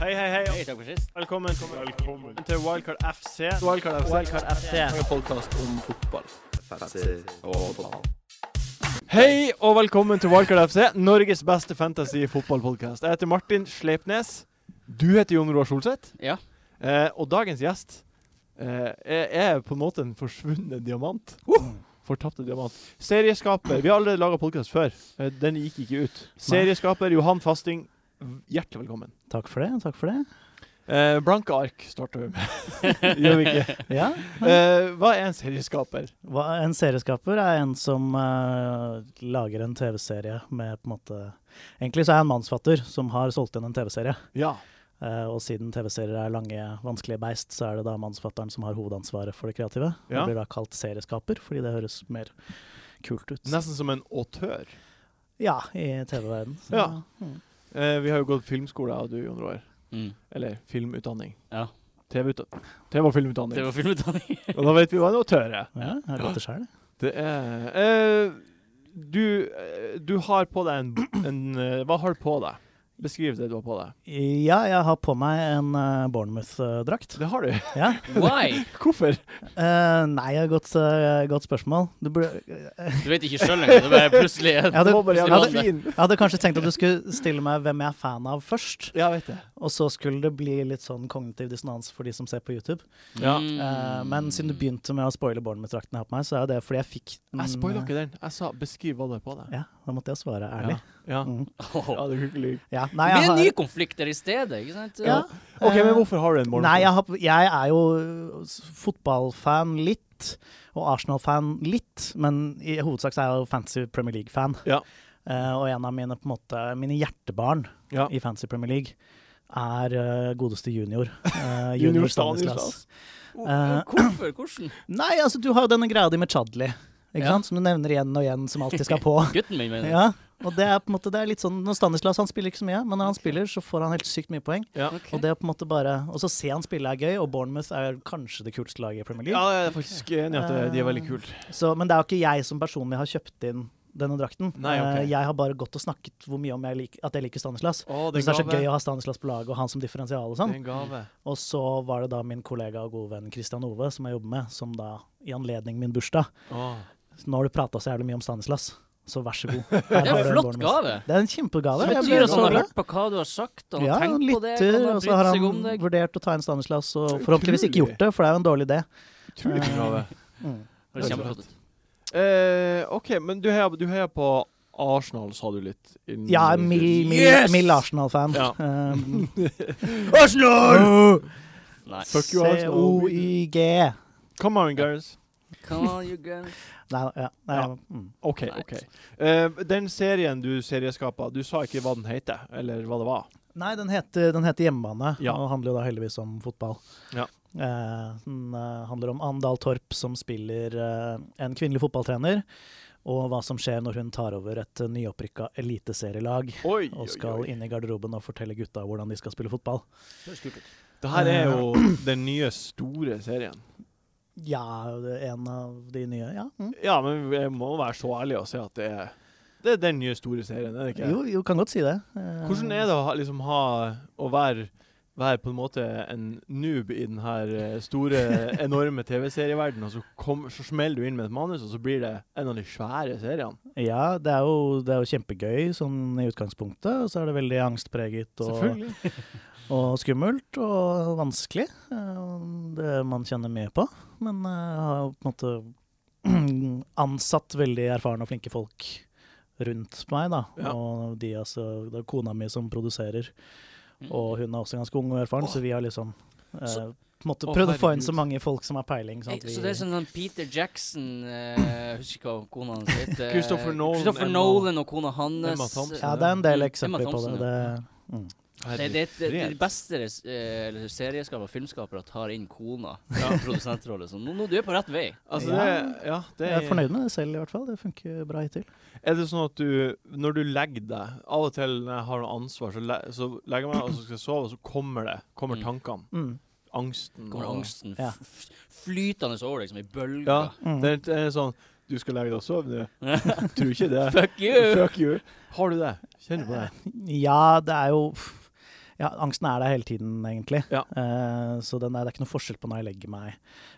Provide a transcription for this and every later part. Hei, hei, hei. Hei, takk for sist. Velkommen, til Wildcard FC. Wildcard FC. Wildcard FC. En podkast om fotball. Hei og velkommen til Wildcard FC, Norges beste fantasy-fotballpodkast. Jeg heter Martin Sleipnes. Du heter Jon Roar Solseth. Ja. Eh, og dagens gjest eh, er er på en måte en forsvunnet diamant. Fortapte diamant. Serieskaper. Vi har allerede laga podkast før. Eh, den gikk ikke ut. Serieskaper Johan Fasting, v- hjertelig velkommen. Takk for det. takk for det. Eh, blanke ark starter vi med. Gjør vi ikke? Ja, Eh, hva er en serieskaper? hva- En serieskaper er en som eh, lager en TV-serie med på en måte Egentlig så er jeg en mannsfatter som har solgt inn en TV-serie. Ja. Eh, og siden TV-serier er lange, vanskelige beist, så er det da mannsfatteren som har hovedansvaret for det kreative. Ja. Det blir da kalt serieskaper, fordi det høres mer kult ut. Nesten som en autør. Ja, i TV-verden. Så- Ja. Mm. Eh, vi har jo gått filmskole, jeg og du, Jon Roar. Mm. Eller filmutdanning. Ja. TV, uta- TV og filmutdanning. Det var filmutdanning. Og da vet vi hva en autør er. ja jeg har gått det sjøl. Det er eh, du, eh, du har på deg en, en eh, Hva har du på deg? Beskriv det du har på deg. Ja, jeg har på meg en eh, Bournemouth-drakt. Det har du. Ja. Why? Hvorfor? Eh, nei, det er et godt, eh, godt spørsmål. Du burde, Du vet ikke sjøl engang. Det bare plutselig er Ja, det- Du må bare plutselig gjøre var det det. fin. Jeg hadde kanskje tenkt at du skulle stille meg hvem jeg er fan av først, Ja, vet det. og så skulle det bli litt sånn kognitiv dissonans for de som ser på YouTube. Ja. Mm. Eh, men siden du begynte med å spoile Bournemouth-drakten jeg har på meg, så er jo det fordi jeg fikk den Jeg spoila ikke den. Jeg sa 'beskriv hva du har på deg'. Ja, da måtte jeg svare ærlig. Ja. Mm. ja, Åh. det er hyggelig. Ja, Det nei, jeg blir en har- ny konflikt der i stedet, ikke sant? Ja. OK, men Eh, hvorfor har du en morgen? Nei, jeg, har, jeg er jo s- fotballfan litt, og Arsenal-fan litt, men i hovedsak så er jeg jo fancy Premier League-fan. Ja. Eh, og en av mine, på en måte, mine hjertebarn Ja. i fancy Premier League er eh, godeste junior. eh, Junior junior Stanislas. Eh, Hvorfor? Hvordan? Nei, altså du har jo denne greia di med Chadli, ikke Ja. sant? Som du nevner igjen og igjen, som alltid skal på. Gutten min, mener du? ja, og det er på en måte, det er litt sånn, når Stanislas han spiller ikke så mye, men når han spiller så får han helt sykt mye poeng. Ja. Og det er på en måte bare, og så se han spille er gøy, og Bournemouth er kanskje det kuleste laget i Premier ja, League. jeg er faktisk enig i at det- de er veldig kult. Så, men det er jo ikke jeg som personlig har kjøpt inn denne drakten. Nei, ok. Eh, Jeg har bare gått og snakket hvor mye om jeg lik, at jeg liker Stanislas. Å, Det, det er så gave. gøy å ha Stanislas på laget og han som differensial og Det sånn. er en gave. Og så var det da min kollega og gode venn Christian Ove, som jeg jobber med, som da, i anledning min bursdag, Åh. Så Nå har du prata så jævlig mye om Stanislas, så vær så god. Her Det er har du en en flott Bournemouth. gave. Det er en kjempegave. Det Jeg betyr blir at han har glad. hørt på hva du har sagt, og han Ja, har han tenkt på det. lytter, han har og så brydd har seg om han deg. vurdert å ta inn Stanislas, og Utrolig. forhåpentligvis ikke gjort det, for det er jo en dårlig idé. Eh, Utrolig fin gave. Mm. Det er kjempeflott ut. Eh, OK, men du heier, du heier på Arsenal, sa du litt? inn- Jeg er mild, mild, Yes! mild Arsenal-fan. Ja. Um, Arsenal! Nei. Fuck you, Arsenal. C-O-Y-G. Come on, guys. Come on, you girl. Nei, ja. Nei, Ja. mm. OK, Nei. OK. Eh, den serien du serieskapa, du sa ikke hva den heter, eller hva det var. Nei den, heter, den heter Hjemmebane, Ja. og handler jo da heldigvis om fotball. Ja. Eh, den eh, handler om Andal Torp, som spiller eh, en kvinnelig fotballtrener, og hva som skjer når hun tar over et eh, nyopprykka eliteserielag. Oi, og skal inn i garderoben og fortelle gutta hvordan de skal spille fotball. Høres kult ut. Det her er jo Eh. den nye, store serien. Ja, det er en av de nye. Ja. Mm. Ja, men jeg må være så ærlig og si at det er, det er den nye, store serien, er det ikke? Jo, jo, kan godt si det. Eh, Hvordan er det å ha, liksom, ha å være, være på en måte en noob i den her eh, store, enorme TV-serieverdenen, og så, kom, så smeller du inn med et manus, og så blir det en av de svære seriene? Ja, det er, jo, det er jo kjempegøy sånn i utgangspunktet, og så er det veldig angstpreget og, Selvfølgelig. og skummelt og vanskelig. eh, Det man kjenner mye på. Men jeg har jo på en måte ansatt veldig erfarne og flinke folk rundt meg, da. Ja. Og de, altså, det er kona mi som produserer, Mm. og hun er også ganske ung og erfaren, så vi har liksom eh, Så- på en måte Å, prøvd å få inn herregud. så mange folk som har peiling. Sånn Ei, at vi, Så det er sånn sånn Peter Jackson eh, Husker ikke hva kona hans heter. Christopher Nolan, Christopher Emma- Nolan og kona hans. eh, Emma Thompson. ja, det er en del Mm. Emma eksempler på Thompson, det. det Det, det, det, det Herregud. beste res- eh, eller serieskapere og filmskapere tar inn kona i produsentrolle. Så nå, nå du er på rett vei. Altså, det, ja, det Jeg er fornøyd med det selv, i hvert fall. Det funker bra hittil. Er det sånn at du, når du legger deg Av og til når jeg har noe ansvar, så, le, så legger jeg meg og så skal jeg sove, og så kommer det Kommer Mm. tankene. Mm. Angsten. Kommer og- angsten Ja. f- f- flytende over deg som ei bølge. Ja. Mm. Det, er, det er sånn Du skal legge deg og sove, du. Tror ikke det. Fuck you! Fuck you. Har du det? Kjenner du på det? Ja, det er jo Ja, angsten er der hele tiden, egentlig. Ja. Eh, så den er, det er ikke noe forskjell på når jeg legger meg.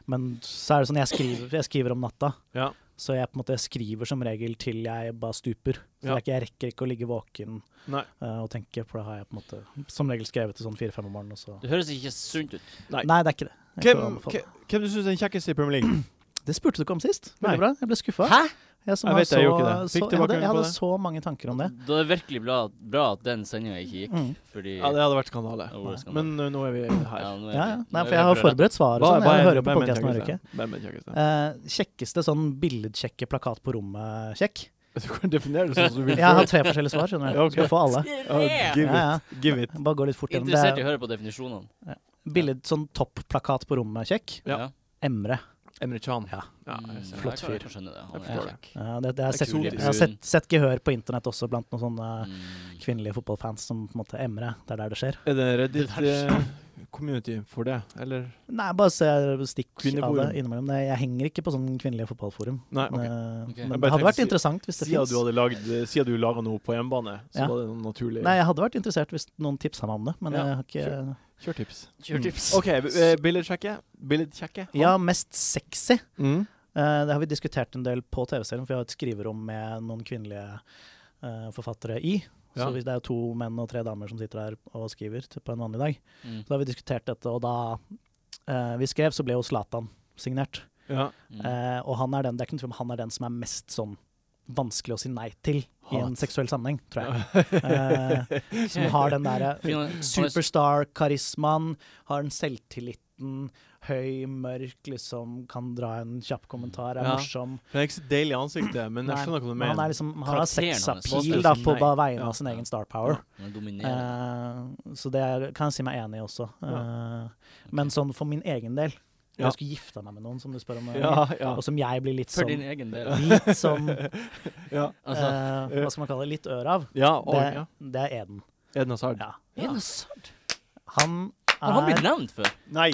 Men så er det sånn, jeg skriver, jeg skriver om natta. Ja. Så jeg på en måte skriver som regel til jeg bare stuper. Så Ja. det er ikke, jeg rekker ikke å ligge våken Nei. eh, og tenke, for da har jeg på en måte som regel skrevet til sånn fire-fem om morgenen. Og så. Det høres ikke sunt Sånn ut. Nei. Nei, det er ikke det. Jeg Hvem, kan anbefale. hvem, hvem du syns er den kjekkeste i Premier League? Det spurte du ikke om sist. Nei. Veldig bra. Jeg ble skuffa. Hæ? Jeg, som Jeg har vet det, jeg gjorde ikke det. så, Fikk jeg hadde, tilbakemelding på jeg hadde det. så mange tanker om det. Da er det virkelig bra, bra at den sendinga ikke gikk, Mm. fordi Ja, det hadde vært skandale. Ja, hvor skal man- Men uh, nå er vi her. Ja, nå er Ja, vi- ja. Nei, nå er for vi jeg har på rett. forberedt svar og sånn. Hva er- Jeg hører hvem på er den podkasten hver uke. kjekkeste? Hvem er den kjekkeste? Eh, kjekkeste sånn billedsjekke plakat på rommet-sjekk. Du kan definere det sånn som du vil. Eh, Jeg har tre forskjellige svar, skjønner du. Ja, Du skal ok. få alle. Ja, give Ja, ja. it. Give it. Bare gå litt fort gjennom. Interessert i Det å høre på definisjonene. er billed, sånn topplakat på rommet-sjekk. Ja. Emre. Emre Chan. Ja. Mm. jeg ser det. Flott Jeg fyr. kan skjønne det. Han Jeg er forstår kjekk. Ja, det, det har jeg sett, Eksotisk. jeg har sett, sett gehør på internett også blant noen sånne Mm. kvinnelige fotballfans som på en måte Emre. Det er der det skjer. Er det Reddit-community for det, eller? Nei, bare se stikk av det Kvinneforum. innimellom. Det- Jeg henger ikke på sånn kvinnelige fotballforum. Nei, ok. Men, eh, Ok. men Jeg det bare hadde vært tenkte- interessant hvis det Siden fins. du hadde lagd eh, Siden du laga noe på hjemmebane, så Ja. var det noe naturlig Nei, jeg hadde vært interessert hvis noen tipsa meg om det, men Ja, jeg har ikke Mm. kjørtips. Kjørtips. OK, eh, billedsjekke. Billedsjekke. Ja, mest sexy. Mm. Eh, det har vi diskutert en del på TV-serien, for vi har et skriverom med noen kvinnelige eh, forfattere i. Ja. Så hvis det er jo to menn og tre damer som sitter der og skriver til- på en vanlig dag, Mm. så har vi diskutert dette, og da eh, vi skrev, så ble jo Zlatan signert. Ja. Mm. Eh, og han er den, det er ikke noe tvil om han er den som er mest sånn vanskelig å si nei til i Hat. en seksuell sammenheng, tror jeg. Eh, som har den derre Fin- han er- Superstar-karismaen, har den selvtilliten, høy, mørk, liksom kan dra en kjapp kommentar, er Ja. morsom. Det er ikke så deilig i ansiktet, men jeg Nei, skjønner hva du Men han er mener. liksom, han har Karakteren hans sexappeal måte å da, si på nei. bare vegne Ja. av sin egen star power. Han er dominerende. Eh, så det er, kan jeg si meg enig i også. Eh, men sånn for min egen del Ja. Jeg skulle gifta meg med noen, som du spør om. eh, Ja, ja. Og som jeg blir litt For din sånn, egen del. litt sånn Ja. Altså, eh, Hva skal man kalle det? Litt ør av. ja, og, Det, ja. det er Eden. Eden Hazard. Ja. er det sant? Han Har han blitt er nevnt før? Nei!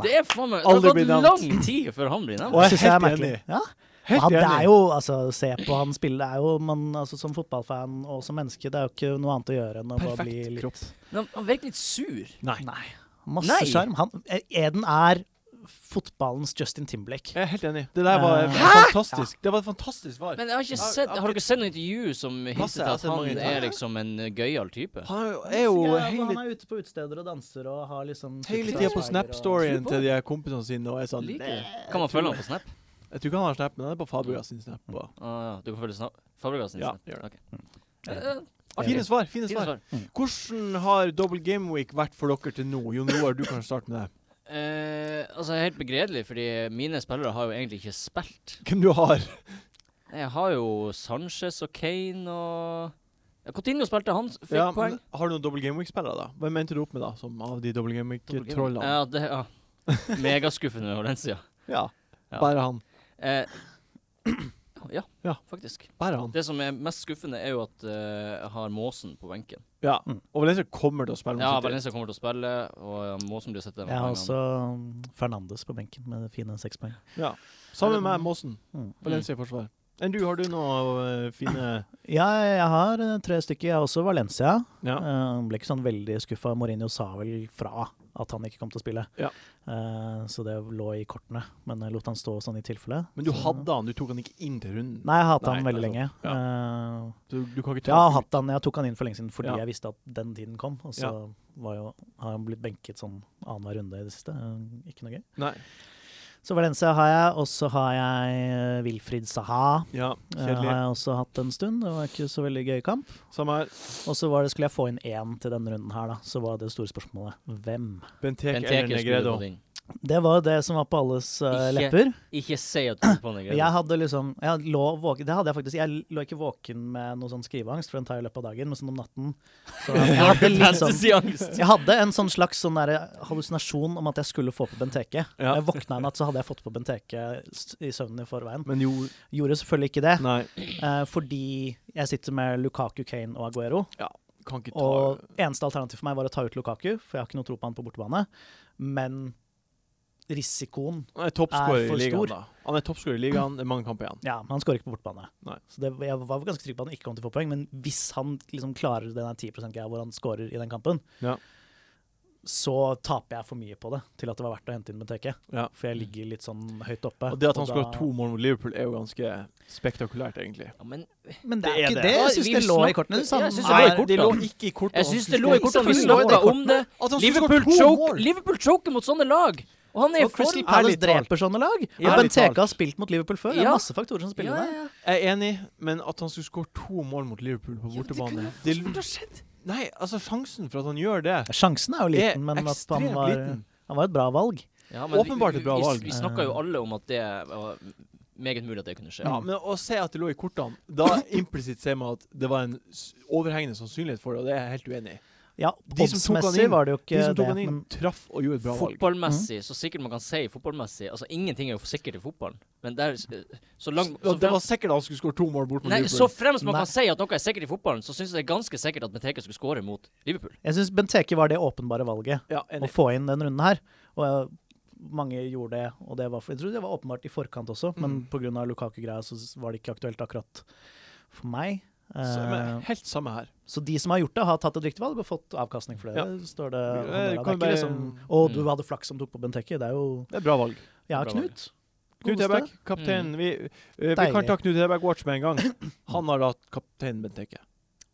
Det er faen meg Det Aldri har blitt gått nevnt. lang tid før han blir nevnt. Og jeg er synes jeg er helt merkelig. enig. Ja, Helt han, det enig. er jo, altså, Se på han spille. Det er jo, man, altså, som fotballfan og som menneske, det er jo ikke noe annet å gjøre enn å bare Perfekt bli litt kropp. Men han- Han virker litt sur. Nei. Nei. Nei. Masse sjarm. Han- Eden er fotballens Justin Timberlake. Jeg er helt enig. Det der var Eh, fantastisk. Det var et fantastisk svar. Men jeg har ikke Ja, sett Har ok. dere sett noe intervju som Lasse, hintet jeg har at sett mange han intervjuer. er liksom en eh, gøyal type? Han er jo, er jo Ja, altså, hele, han er ute på utesteder og danser og har liksom hele superstar tida på swagger og- Snap-storyen til de her kompisene sine og er sånn Liker "Nei, det. Kan man følge han på Snap? Jeg tror ikke han har Snap, men han er på Fabrikas sin Snap. Og. Ah, ja. Du kan følge Snap. Fabregas sin Ja, Snap. gjør det. Ok. Eh, artig. Fine svar. fine Fine svar. svar. Hvordan har Double Game Week vært for dere til nå? Jon Roar, du kan starte med det. Eh, altså, jeg er helt begredelig, fordi mine spillere har jo egentlig ikke spilt. Hvem du har? Jeg har jo Sanchez og Kane og Ja, Coutinho spilte, han s- fikk Ja, men poeng. har du noen Double Game Week-spillere, da? Hvem endte du opp med, da, som av de Double Game Week-trollene? Ja, det, ja. Megaskuffende over den sida. Ja. Ja. Bare han. Eh, ja, Ja. faktisk. Bare han. Det som er mest skuffende, er jo at eh, jeg har Måsen på benken. Ja. Mm. Og Valencia kommer til å spille Ja, mot City. Valencia kommer til å spille, og ja, Måsen blir å sette Jeg har også um, Fernandes på benken med fine seks poeng. Ja. Sammen med Måsen. Mm. Valencia i forsvar. Enn du, har du noe øh, fine Ja, jeg har eh, tre stykker. Jeg har også Valencia. Ja. Eh, ble ikke sånn veldig skuffa. Mourinho sa vel fra at han ikke kom til å spille. Ja. Eh, så det lå i kortene. Men jeg lot han stå sånn i tilfelle. Men du Så- hadde han, du tok han ikke inn til runden. Nei, jeg hata Nei, han veldig nei, lenge. så- Du, du kan Eh, ikke jeg, ta har han ut. hatt han, jeg tok han inn for lenge siden fordi Ja. jeg visste at den tiden kom. Og så var jo, har han blitt benket sånn annenhver runde i det siste. Eh, ikke noe gøy. Nei. Så Valencia har jeg. Og så har jeg eh, Wilfried Saha. Ja, Eh, har kjedelig. jeg også hatt en stund. Det var ikke så veldig gøy kamp. Samme her. Og så var det, skulle jeg få inn én til denne runden her, da, så var det store spørsmålet hvem? Benteke eller Negredo. Det var jo det som var på alles eh, Ikke- lepper. Ikke si at du er på Negredo. Jeg hadde liksom jeg lå våken, Det hadde jeg faktisk. Jeg lå ikke våken med noe sånn skriveangst, for den tar jo i løpet av dagen, men sånn om natten så jeg, jeg hadde litt sånn Fantasyangst. jeg hadde en sånn slags sånn derre hallusinasjon om at jeg skulle få på Benteke. Ja. Når Jeg våkna en natt, så hadde jeg fått på Benteke s- i søvnen i forveien. Men jo Gjorde selvfølgelig ikke det, Nei, eh, fordi jeg sitter med Lukaku, Kane og Aguero. kan ikke ta Og eneste alternativ for meg var å ta ut Lukaku, for jeg har ikke noe tro på han på bortebane. Men risikoen Han er toppscorer Er i for ligaen, stor. da. Han er toppscorer i ligaen. Det er mange kamper igjen. Ja, men han skårer ikke på bortebane. Nei. Så det, jeg var ganske trygg på at han ikke kom til å få poeng, men hvis han liksom klarer den der 10 %-greia hvor han skårer i den kampen, Ja. så taper jeg for mye på det til at det var verdt å hente inn Benteke. Ja. For jeg ligger litt sånn høyt oppe. Og det at han da- skårer to mål mot Liverpool, er jo ganske spektakulært, egentlig. Ja, men Men Det det er er ikke det. det. Jeg syns Vi det lå i snakker- kortene. Ja, jeg synes det Nei, lå i kortene. det lå ikke i kortene. jeg syns det lå i Ikke kortene. sant, Vi det lå i snakka om kortene. det. At han skulle Liverpool skåre to choker, mål. Liverpool choker mot sånne lag! Og han er i Og Crystal form. Palace Ærlig talt. dreper sånne lag. Og Ærlig talt. Benteke har spilt mot Liverpool før. Det Ja. er masse faktorer som spiller Ja, med. ja. Jeg er enig, men at han skulle skåre to mål mot Liverpool på bortebane det, Det har skjedd. Nei, altså, sjansen for at han gjør det, Sjansen er jo er liten, men at han ekstremt var, liten. han var et bra valg. Ja, men vi- Åpenbart et bra vi- valg. Vi, vi snakka jo alle om at det var meget mulig at det kunne skje. Ja, men å se at det lå i kortene, da implisitt ser man at det var en s- overhengende sannsynlighet for det, og det er jeg helt uenig i. Ja, De som tok han oddsmessig inn- var det jo De ikke som tok det. han inn, Men traff og gjorde et bra valg. Fotballmessig, så sikkert man kan si fotballmessig Altså, ingenting er jo for sikkert i fotballen, men der Så langt Og så det frem, var sikkert at han skulle skåre to mål bort mot Nei, så Liverpool. fremst man Nei. kan si at noe er sikkert i fotballen, så syns jeg det er ganske sikkert at Benteke skulle skåre mot Liverpool. jeg syns Benteke var det åpenbare valget. Ja, å enig. få inn den runden her. Og eh, mange gjorde det, og det var, for- jeg tror det var åpenbart i forkant også, men Mm. pga. Lukaku-greia så s- var det ikke aktuelt akkurat for meg. Eh, Så, men, Så, helt samme her. de som har gjort det, har tatt et riktig valg og fått avkastning for det. Ja. Det står det. Eh, Det er kan ikke bare- liksom Å, du Mm. hadde flaks som tok på Benteke. Det er jo Det er bra valg. Ja, Bra valg. Knut. Knut Godeste. Hebæk, kaptein. Vi, eh, vi kan Deilig. ta Knut Hebæk Watch med en gang. Han har da kaptein Benteke.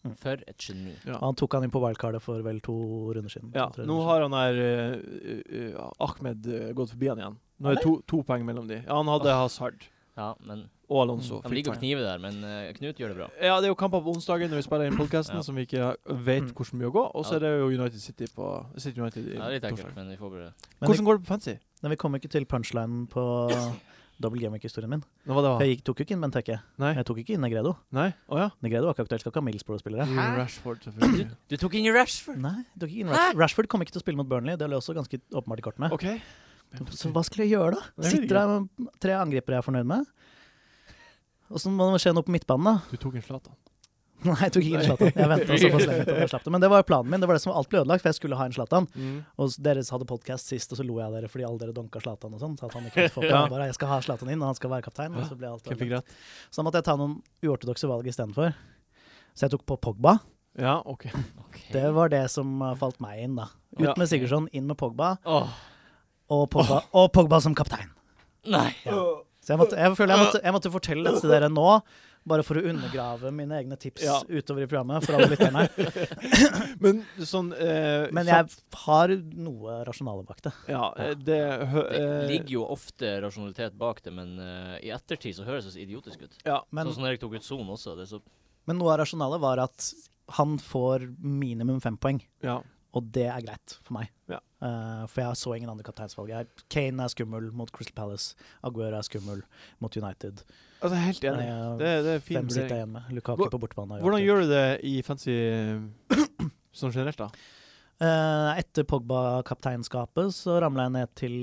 Mm. For et geni. Ja. Han tok han inn på wildcardet for vel to runder siden. Ja, Tre nå runder har han her eh, eh, Ahmed eh, gått forbi han igjen. Nå er det to, to poeng mellom de. Ja, han hadde Hazard Ja, men og Alonso. Han Fikk Ah. Mm. ligger og poeng. kniver der, men eh, Knut gjør det bra. Ja, det er jo kamper på onsdagen når vi spiller inn podkasten, Ja. som vi ikke vet Mm. hvor mye å gå. Og så Ja. er det jo United City på City United i Ja, det er litt ekkelt, torsdag. men vi får bare Men Hvordan går det på fancy? siden. Men vi kom ikke til punchlinen på double gaming-historien min. Nå var det For jeg gikk, tok jo ikke inn Benteke. Ah. Nei. Jeg tok ikke inn Negredo. Nei? Å ja. Negredo var ikke aktuelt, skal ikke ha Middlesbrough-spillere. Hæ? Rashford, selvfølgelig. Du tok inn i Rashford! Nei, det var ikke inn Rashford. Rashford kom ikke til å spille mot Burnley. Det lå også ganske åpenbart i kortene. OK. Så hva skulle jeg gjøre, da? Jeg vet Sitter der med tre angripere jeg er fornøyd med. Og så må det skje noe på midtbanen, da. Du tok en Zlatan. Nei, jeg tok ikke inn Zlatan. Jeg venta såpass lenge til at jeg slapp det. Men det var planen min. Det var det som alt ble ødelagt, for jeg skulle ha en Zlatan. Mm. Og s- dere hadde podkast sist, og så lo jeg av dere fordi alle dere donka Zlatan og sånn. Så at han ikke kunne få på. Ja. Jeg Bare, jeg skal ha Zlatan inn, og han skal være kaptein. Og så ble alt Hvem fikk ødelagt. rett? Så da måtte jeg ta noen uortodokse valg istedenfor. Så jeg tok på Pogba. Ja, OK. Okay. Det var det som eh, falt meg inn, da. Ja. Ut med Sigurdsson, inn med Pogba. Åh, Og Pogba, og Pogba som kaptein. nei! Så jeg, måtte, jeg føler jeg måtte, jeg måtte fortelle dette til dere nå, bare for å undergrave mine egne tips Ja. utover i programmet for alle lytterne. Men sånn eh, Men kjapt- jeg har noe rasjonale bak det. Ja, eh, det hø, Det eh, ligger jo ofte rasjonalitet bak det, men eh, i ettertid så høres det så idiotisk ut. eh, ja. Men, sånn som når jeg tok ut Son også. Det er så men noe av rasjonalet var at han får minimum fem poeng, ja. og det er greit for meg. Ja. Eh, for jeg så ingen andre kapteinsvalg. Jeg- Kane er skummel mot Crystal Palace. Aguero er skummel mot United. Altså, jeg er helt enig. Eh, Det, det er fin Hvem sitter vurdering. jeg igjen med? Lukaku Hvor- på bortebane. er jo Hvordan aktuelt. gjør du det i fancy eh, sånn generelt, da? Eh, etter Pogba-kapteinskapet så ramla jeg ned til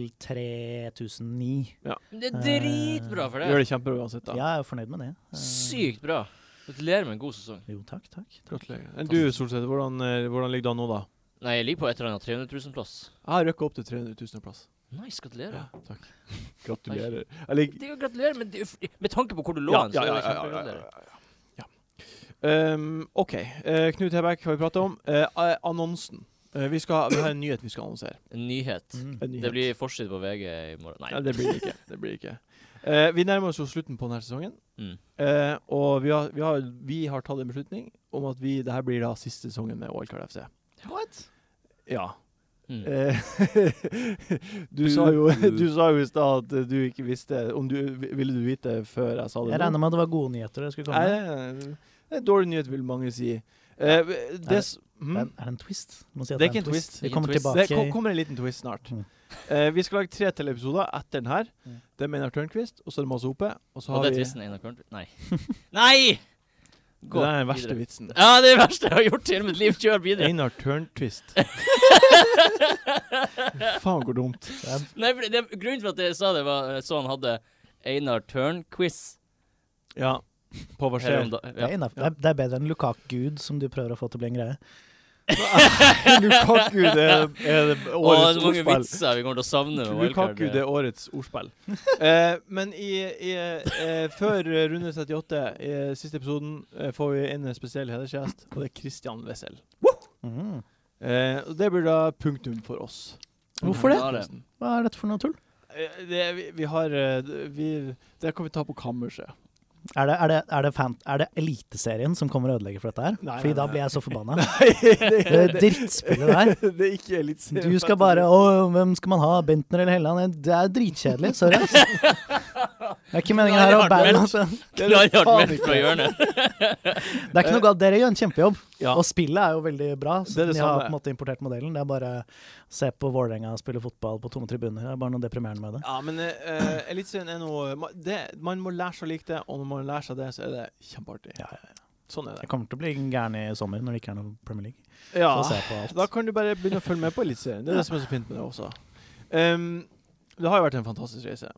3009. Det er dritbra for Gjør det! det kjempebra uansett, da. Jeg er jo fornøyd med det. Eh, Sykt bra! Gratulerer med en god sesong. Jo, takk, takk. Gratulerer. Enn Du, Solseth, hvordan, eh, hvordan ligger det an nå, da? Nei, jeg ligger på et eller annet 300 000 plass. Jeg har røkka opp til 300 000 plass. Nice, gratulerer. Ja, takk. Gratulerer. Jeg ligger Det er jo gratulerer, men det, er jo f- med tanke på hvor du lå ja, hen, ja, så er ja, det ja, ja, kjempegratulerer. ja, ja, ja. Um, OK. Eh, Knut Hebekk har vi prata om. Eh, a- annonsen. Eh, vi, skal, vi har en nyhet vi skal annonsere. En nyhet. Mm. En nyhet. Det blir forside på VG i morgen. Ja, Nei. det blir det ikke. Det blir det ikke. Eh, vi nærmer oss jo slutten på denne sesongen. Mm. Eh, og vi har, vi, har, vi har tatt en beslutning om at vi, det her blir da siste sesongen med OLCard FC. What? Ja. Mm. Eh, du, sa jo, du sa jo i stad at du ikke visste om du Ville du vite før jeg sa det? Jeg regner med at det var gode nyheter dere skulle komme med. med det er dårlig nyhet, vil mange si. Eh, det, s- hm? Er det- Er det en twist? Du Må si at Det er ikke en twist. Vi kommer Ingen twist. tilbake. det ko- kommer en liten twist snart. Mm. Eh, vi skal lage tre til episoder etter den her. Mm. Det er med Einar Tørnquist, og så er det Masse Ope. Og så Og har det er vi tvisten Einar Korn... Nei. Nei! Det er den verste videre. vitsen. Ja, det er det verste jeg har gjort i hele mitt liv. Kjør videre. Einar Tørnquist. Faen, hvor dumt. Det er- Nei, for det, grunnen for at jeg sa det, var eh, så han hadde Einar Tørn-quiz. Ja. På hva her skjer? om da- det er Ja. innenfor- Det er- det er bedre enn Lukaku-gud, som du prøver å få til å bli en greie. Lukaku, det er, er det Å, det er årets så ordspill. mange vitser vi kommer til å savne med Lukaku, det er årets ordspill. Eh, men i, i, eh, før eh, runde 38, i eh, siste episoden, eh, får vi inn en spesiell hedersgjest, og det er Christian Wessel. Mm. Eh, og det blir da punktum for oss. Hvorfor det? Ja, det. Hva er dette for noe tull? Eh, Det, vi, vi har eh, vi, Det kan vi ta på kammerset. Er det, er det, er det, fan, er det Eliteserien som kommer og ødelegger for dette her? Nei, Fordi nei, da nei. blir jeg så forbanna. Det det, drittspillet der. det er ikke litt Du skal bare Å, hvem skal man ha? Bentner eller Helland? Det er dritkjedelig. Sorry, ass. Det er ikke meningen her å Knallhardt bære meldt. altså. Det er det Knallhardt faen meldt ikke. fra hjørnet. Det er ikke noe galt. Dere gjør en kjempejobb. Ja. Og spillet er jo veldig bra. Så Det er det de har samme. på en måte importert modellen. Det er bare å se på Vålerenga spille fotball på tomme tribuner. Det er bare noe deprimerende med det. Ja, men uh, Eliteserien er noe ma- det, Man må lære seg å like det, og når man lærer seg det, så er det kjempeartig. Ja, ja, Sånn er Jeg det. kommer til å bli gæren i sommer når det ikke er noe Premier League. Ja, Så ser jeg på alt. Da kan du bare begynne å følge med på Eliteserien. Det er det som er så fint med det også. Ehm, det har jo vært en fantastisk reise.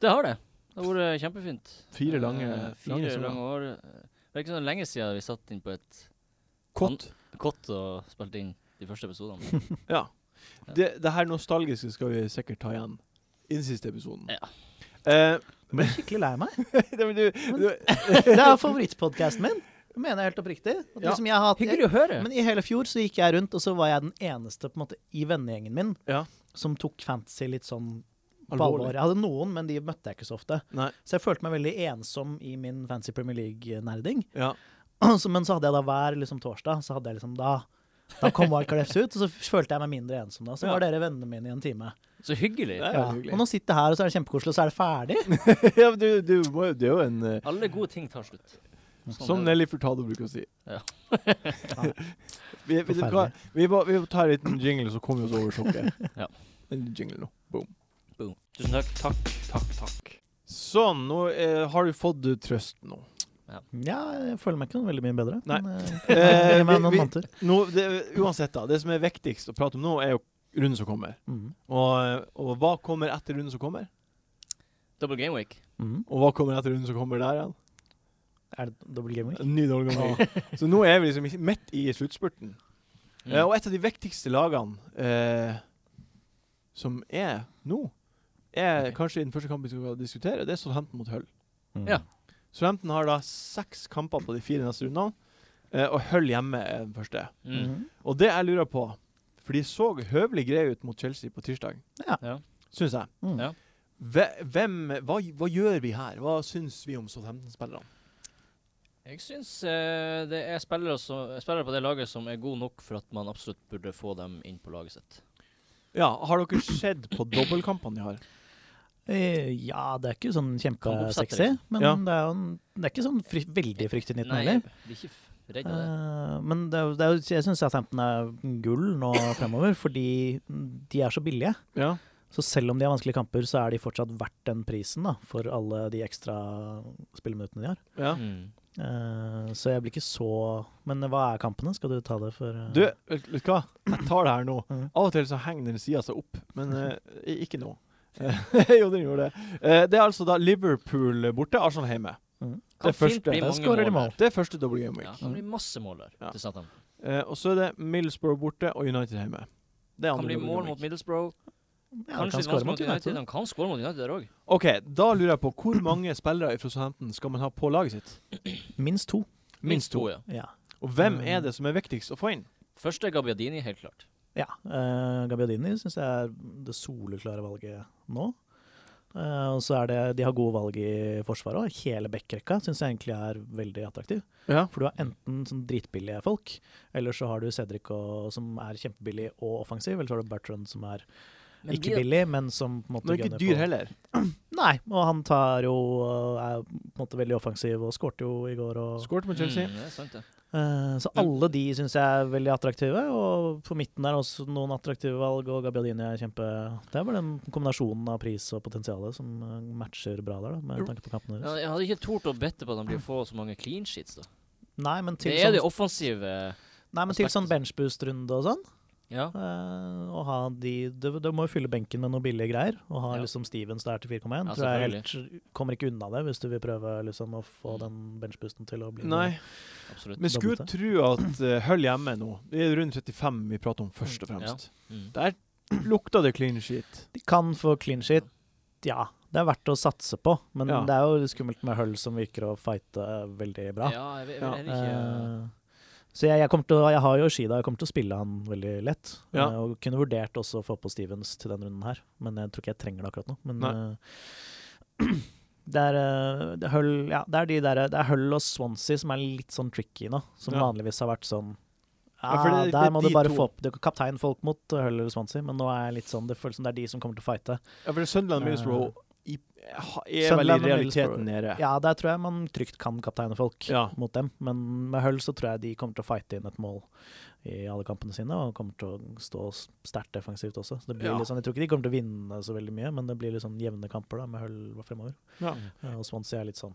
Det har det. Det har vært kjempefint. Fire lange, Eh, Fire lange lange, somre. år. Det er ikke så lenge siden vi satt inn på et Kott. kott og spilte inn de første episodene. Ja. Det, det her nostalgiske skal vi sikkert ta igjen i den siste episoden. Ja. Eh, Jeg blir skikkelig lei meg. det, men du, du, Det er favorittpodkasten min. Det mener jeg helt oppriktig. Og det Ja. som jeg har hatt, Hyggelig å høre. Men i hele fjor så gikk jeg rundt, og så var jeg den eneste på en måte, i vennegjengen min Ja. som tok fantasy litt sånn på alvor. alvorlig. Jeg hadde noen, men de møtte jeg ikke så ofte. Nei. Så jeg følte meg veldig ensom i min fancy Premier League-nerding. Ja. Så- Men så hadde jeg da hver liksom, torsdag, så hadde jeg liksom da da kom Wildcard FC ut, og så følte jeg meg mindre ensom. da. Så Ja. var dere vennene mine i en time. Så hyggelig. Det er Ja. hyggelig. Og nå sitter jeg her, og så er det kjempekoselig, og så er det ferdig. ja, men du, du må jo Det er jo en eh, Alle gode ting tar slutt. Sånn Som er det. Nelly Furtado bruker å si. Ja. vi, vi, vi, Forferdelig. vi, må- vi må ta en liten jingle, så kommer vi oss over sjokket. Ja. En jingle nå. Boom. Tusen takk. Takk, takk, takk. Sånn, nå eh, har du fått eh, trøst nå. Ja, jeg føler meg ikke noe veldig mye bedre. Nei. Men, eh, Eh, gi meg noen vi- vi- måneder. nå det, uansett, da. Det som er viktigst å prate om nå, er jo runden som kommer. Mm. Og, og hva kommer etter runden som kommer? Double Game Week. Mm. Og hva kommer etter runden som kommer der igjen? Er det Mm. dobbel gaming? En Ny dårlig gang. Så nå er vi liksom i- midt i sluttspurten. Eh, og et av de viktigste lagene eh, som er nå, er Ok. kanskje i den første kampen vi skal diskutere, det er Southampton mot Hull. Mm. Ja. Southampton har da seks kamper på de fire neste rundene, eh, og Hull hjemme er den første. Mm. Mhm. Og det jeg lurer på, for de så høvelig greie ut mot Chelsea på tirsdag, Ja. syns jeg. Mm. Ja. Hve- Hvem, hva, hva gjør vi her? Hva syns vi om Southampton-spillerne? Jeg syns eh, det er spillere, som, spillere på det laget som er gode nok for at man absolutt burde få dem inn på laget sitt. Ja, har dere sett på dobbeltkampene de har? Eh, Ja, det er ikke sånn Kan oppsette, kjempesexy, men Ja. det er jo en, det er ikke sånn fry, veldig fryktinngytende Nei, jeg heller. blir ikke f- redd av det. Eh, men det er, jo- det er, jo- jeg syns Southampton er gull nå fremover, fordi de er så billige. Ja. Så selv om de har vanskelige kamper, så er de fortsatt verdt den prisen da, for alle de ekstra spilleminuttene de har. ja. Mm. Eh, så jeg blir ikke så Men hva er kampene? Skal du ta det for eh, Du, vet vet du hva? Jeg tar det her nå. Mhm. Av og til så henger den sida seg opp, men eh, ikke nå. Eh, jo, den gjorde det. Eh, det er altså da Liverpool borte, Arsenal hjemme. Kan Det første. fint bli Der mange skårer de mål. mål. der. Det er første double game Ja, week. det kan bli masse mål der. Ja. til Southampton. Eh, og så er det Middlesbrough borte og United hjemme. Det er Kan andre bli double mål game week. mot Middlesbrough. Ja, de Kanskje kan score mot United. De kan skåre mot United der òg. OK, da lurer jeg på hvor mange spillere fra Southampton skal man ha på laget sitt? Minst to. Minst to. ja. Mm. Ja. Og hvem er det som er viktigst å få inn? Første er Gabbiadini, helt klart. Ja. eh, Gabbiadini syns jeg er det soleklare valget nå. Eh, og så er det, De har gode valg i forsvaret òg. Hele backrekka syns jeg egentlig er veldig attraktiv. Ja. For du har enten sånn dritbillige folk, eller så har du Cedric og, som er kjempebillig og offensiv, eller så har du Bertrand som er Men ikke blir- billig, men som på en måte Men ikke gunner dyr på- heller. Nei, og han tar jo eh, er på en måte veldig offensiv og skårte jo i går. Og, Skåret mot Chelsea. Mm, det er sant, det. Eh, Så Men- alle de syns jeg er veldig attraktive, og på midten er også noen attraktive valg, og Gabbiadini er kjempe Det er bare den kombinasjonen av pris og potensial som eh, matcher bra der, da, med tanke på kampene Ja, deres. Jeg hadde ikke tort å bette på at han blir å få så mange clean sheets. da. Nei, men til Det er det sånn, offensive nei, men til aspektet. sånn benchboost-runde og sånn, Ja. Eh, og ha de, det, det må jo fylle benken med noe billige greier. Og ha Ja. liksom Stevens der til 4,1. Ja, tror jeg helt Kommer ikke unna det, hvis du vil prøve liksom, Mm. å få den benchboosten til å bli noe- Nei. Absolutt. Men skulle Dobbelt, tro at uh, Hull hjemme nå Det er rundt 35 vi prater om, først og fremst. Mm. Der lukta det clean shit. De kan få clean sheet, ja. Det er verdt å satse på, men Ja. det er jo skummelt med hull som virker å fighte eh, veldig bra. Ja, jeg vil, jeg Ja. vil heller ikke Eh, så jeg, jeg, kommer til, å- jeg har jo Shida, jeg kommer til å spille han veldig lett. Ja. eh, og kunne vurdert også å få på Stevens til den runden her, men jeg tror ikke jeg trenger det akkurat nå. Men eh, det er, eh, det er hull, ja, det er de der, det er hull og Swansea som er litt sånn tricky nå, som Ja. vanligvis har vært sånn Ja, for ah, det- det er Der må du de bare to. få opp Det er kaptein folk mot Hull eller Swansea, men nå er jeg litt sånn, det føles som det er de som kommer til å fighte. Ja, for det er Sunderland og Middlesbrough i, ha- er vel i Eh, Sunderland og realiteten nede. Ja, der tror jeg man trygt kan kapteine folk Ja. mot dem. Men med Hull så tror jeg de kommer til å fighte inn et mål i alle kampene sine, og kommer til å stå s- sterkt defensivt også. Så det blir Ja. litt sånn, jeg tror ikke de kommer til å vinne så veldig mye, men det blir litt sånn jevne kamper da, med Hull fremover. Ja. Eh, Og Swansea er litt sånn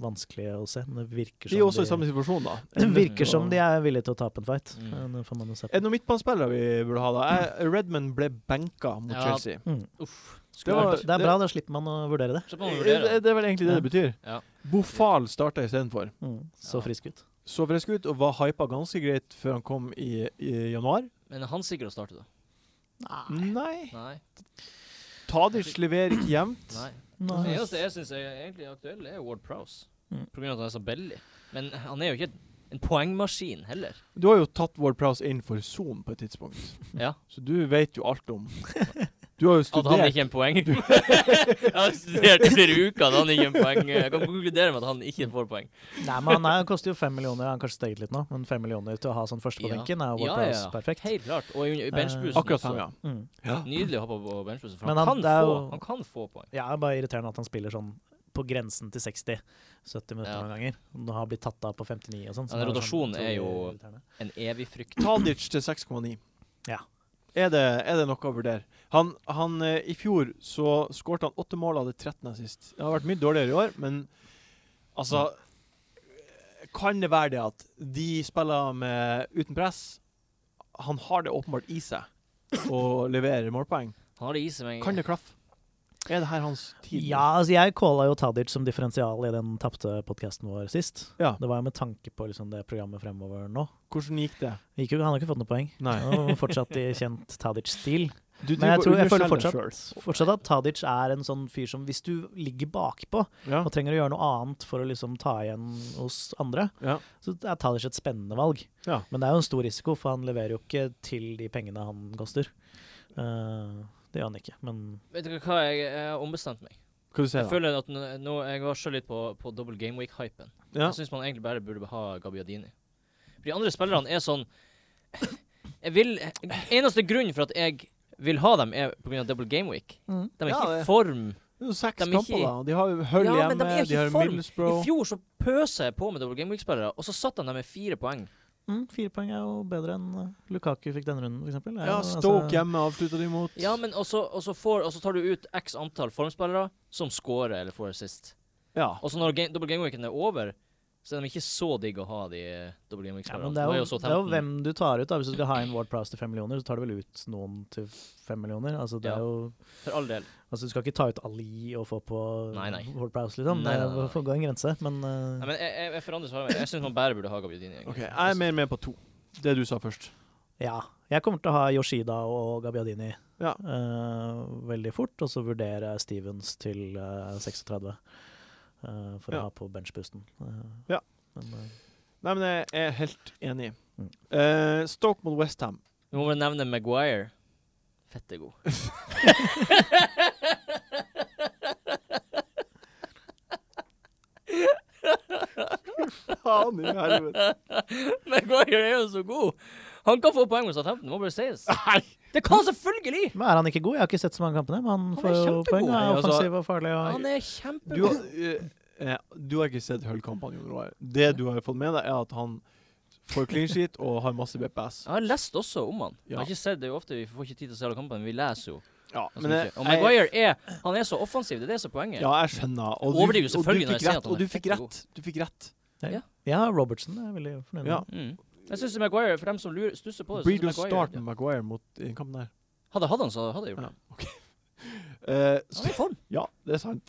vanskelig å se, men sånn det virker De er som også i samme situasjon, da. det virker som de er villige til å tape en fight. Mm. Eh, Det får man jo se. Er det noen midtbanespillere vi burde ha, da? Jeg, Redman ble benka mot Ja. Chelsea. Mm. Uff. Det, var- er- det er bra, da slipper man å vurdere det. Så må man Eh, Det, eh, vurdere. det er vel egentlig det Ja. det betyr. Ja. Bofal starta istedenfor. Mm. Så Ja. frisk ut. Så frisk ut og var hypa ganske greit før han kom i, i januar. Men er han sikker å starte, da? Ah. Nei. Nei. Tadic leverer ikke jevnt. Nei. Nei. Det eneste jeg syns er egentlig aktuell, er Ward Prowse. Mm. På grunn av at han er så billig. Men han er jo ikke en poengmaskin heller. Du har jo tatt Ward Prowse inn for Zoom på et tidspunkt, Ja. så du vet jo alt om Du har jo At han studert ikke er en poeng. jeg har studert i flere uker at han ikke er en poeng. Jeg kan konkludere med at han ikke får poeng. Nei, men han, er, han koster jo fem millioner. Han har kanskje steget litt nå, men fem millioner til å ha sånn først på Ja. benken er jo Ja, ja, WordPress ja. perfekt. Eh, Helt klart. Og i i benchbussen. Akkurat så fem, ja. Mm. ja. Nydelig å hoppe på benchbussen, for Men han, han- kan det er få, jo- han kan få poeng. Ja, det er bare irriterende at han spiller sånn på grensen til 60. 70 minutter Ja. noen ganger. Nå har han blitt tatt av på 59 og sånn. Ja, det rotasjonen så er jo- irriterende. En evig frykt. Tadic til 6,9. Ja. Er det, er det noe å vurdere? Han, han, eh, I fjor så skårte han åtte mål av det 13 sist. Det har vært mye dårligere i år, men altså Kan det være det at de spiller med uten press? Han har det åpenbart i seg å levere målpoeng. Han har det i seg, men Kan det klaffe? Er det her hans tid? Ja, altså jeg calla jo Tadic som differensial i den tapte podkasten vår sist. Ja. Det var jo med tanke på liksom det programmet fremover nå. Hvordan gikk det? Gikk jo, han har ikke fått noe poeng. Nei. Og fortsatt i kjent Tadic-stil. Du Men driver jeg, tror, og jeg føler underselger fortsatt, fortsatt at Tadic er en sånn fyr som Hvis du ligger bakpå selv. Ja. og trenger å gjøre noe annet for å liksom ta igjen hos andre, Ja. så er Tadic et spennende valg. Ja. Men det er jo en stor risiko, for han leverer jo ikke til de pengene han koster. Eh, det gjør han ikke, men Vet dere hva, jeg jeg har ombestemt meg. Hva du sier Jeg du? føler at nå, nå- jeg var så litt på, på double game week-hypen. Ja. Jeg syns man egentlig bare burde ha Gabbiadini. For de andre spillerne er sånn jeg vil, Eneste grunnen for at jeg vil ha dem, er pga. double game week. De er Ja, ikke det- i form. Det er jo seks De er kamper, ikke- da. De har jo Hull Ja, men de hjemme, er ikke de, i har form. I Middlesbrough fjor så pøser jeg på med double game week-spillere, og så satt han der med fire poeng. mm, fire poeng er jo bedre enn eh, Lukaku fikk denne runden, f.eks. Ja, altså- Stoke hjemme avslutta de mot. Ja, men og så og så får, og så tar du ut x antall formspillere som scorer eller får assist. Ja. Og så når game, double game weeken er over, så er de ikke så digg å ha de eh, double game Ja, week-spillerne. men det er, jo, så det er jo 15. hvem du tar ut. da Hvis du skal ha inn Ward Prowse til fem millioner, så tar du vel ut noen til fem millioner. Altså, det Ja. er jo, For all del. altså Du skal ikke ta ut Ali og få på Nei, nei. Ward Prowse, liksom. Nei, nei, nei, Det nei. får gå en grense, men, eh, Nei, men jeg, jeg, jeg forandrer svaret mitt. Jeg syns man bare burde ha Gabbiadini. egentlig. OK, jeg er mer med på to. Det du sa først. Ja. Jeg kommer til å ha Yoshida og Gabbiadini Ja. eh, veldig fort, og så vurdere Stevens til eh, 36 eh, for Ja. å ha på benchboosten. Eh, Ja. Men, eh, Nei, men jeg er helt enig. Mm. Eh, Stoke mot Westham. Vi må bare nevne Maguire. Fette god. Faen i helvete. Maguire er jo så god! Han kan få poeng mot Southampton, det må bare sies. Nei! Det kan han selvfølgelig! men er han ikke god? Jeg har ikke sett så mange kampene, men han, Han er får jo kjempegod. poeng. Han Nei, er altså, offensiv og farlig. Og, Han Du, er har- kjempegod. eh, eh, du har ikke sett Hull-kampene, Jon Roar. Det du har fått med deg, er at han får clean sheet og har masse BPS. Jeg har lest også om han. Jeg Ja. har ikke sett det jo ofte, vi får ikke tid til å se alle kampene, men vi leser jo. Ja, ganske men jeg, mye. Altså, og Maguire er Han er så offensiv, det er det som er poenget. ja, jeg skjønner. Og du, Overdriver og du selvfølgelig når jeg fikk sier at rett. han Og du er fikk fette rett. Du fikk rett. ja, Robertson er veldig fornøyd. med. Ja. Mm. Jeg syns Maguire, for dem som lurer, stusser på det synes Breedle Maguire- starter med Maguire mot i den kampen der. Hadde hadde han, så hadde jeg gjort Ja, det. OK. Eh, Han er i form. Ja, det er sant.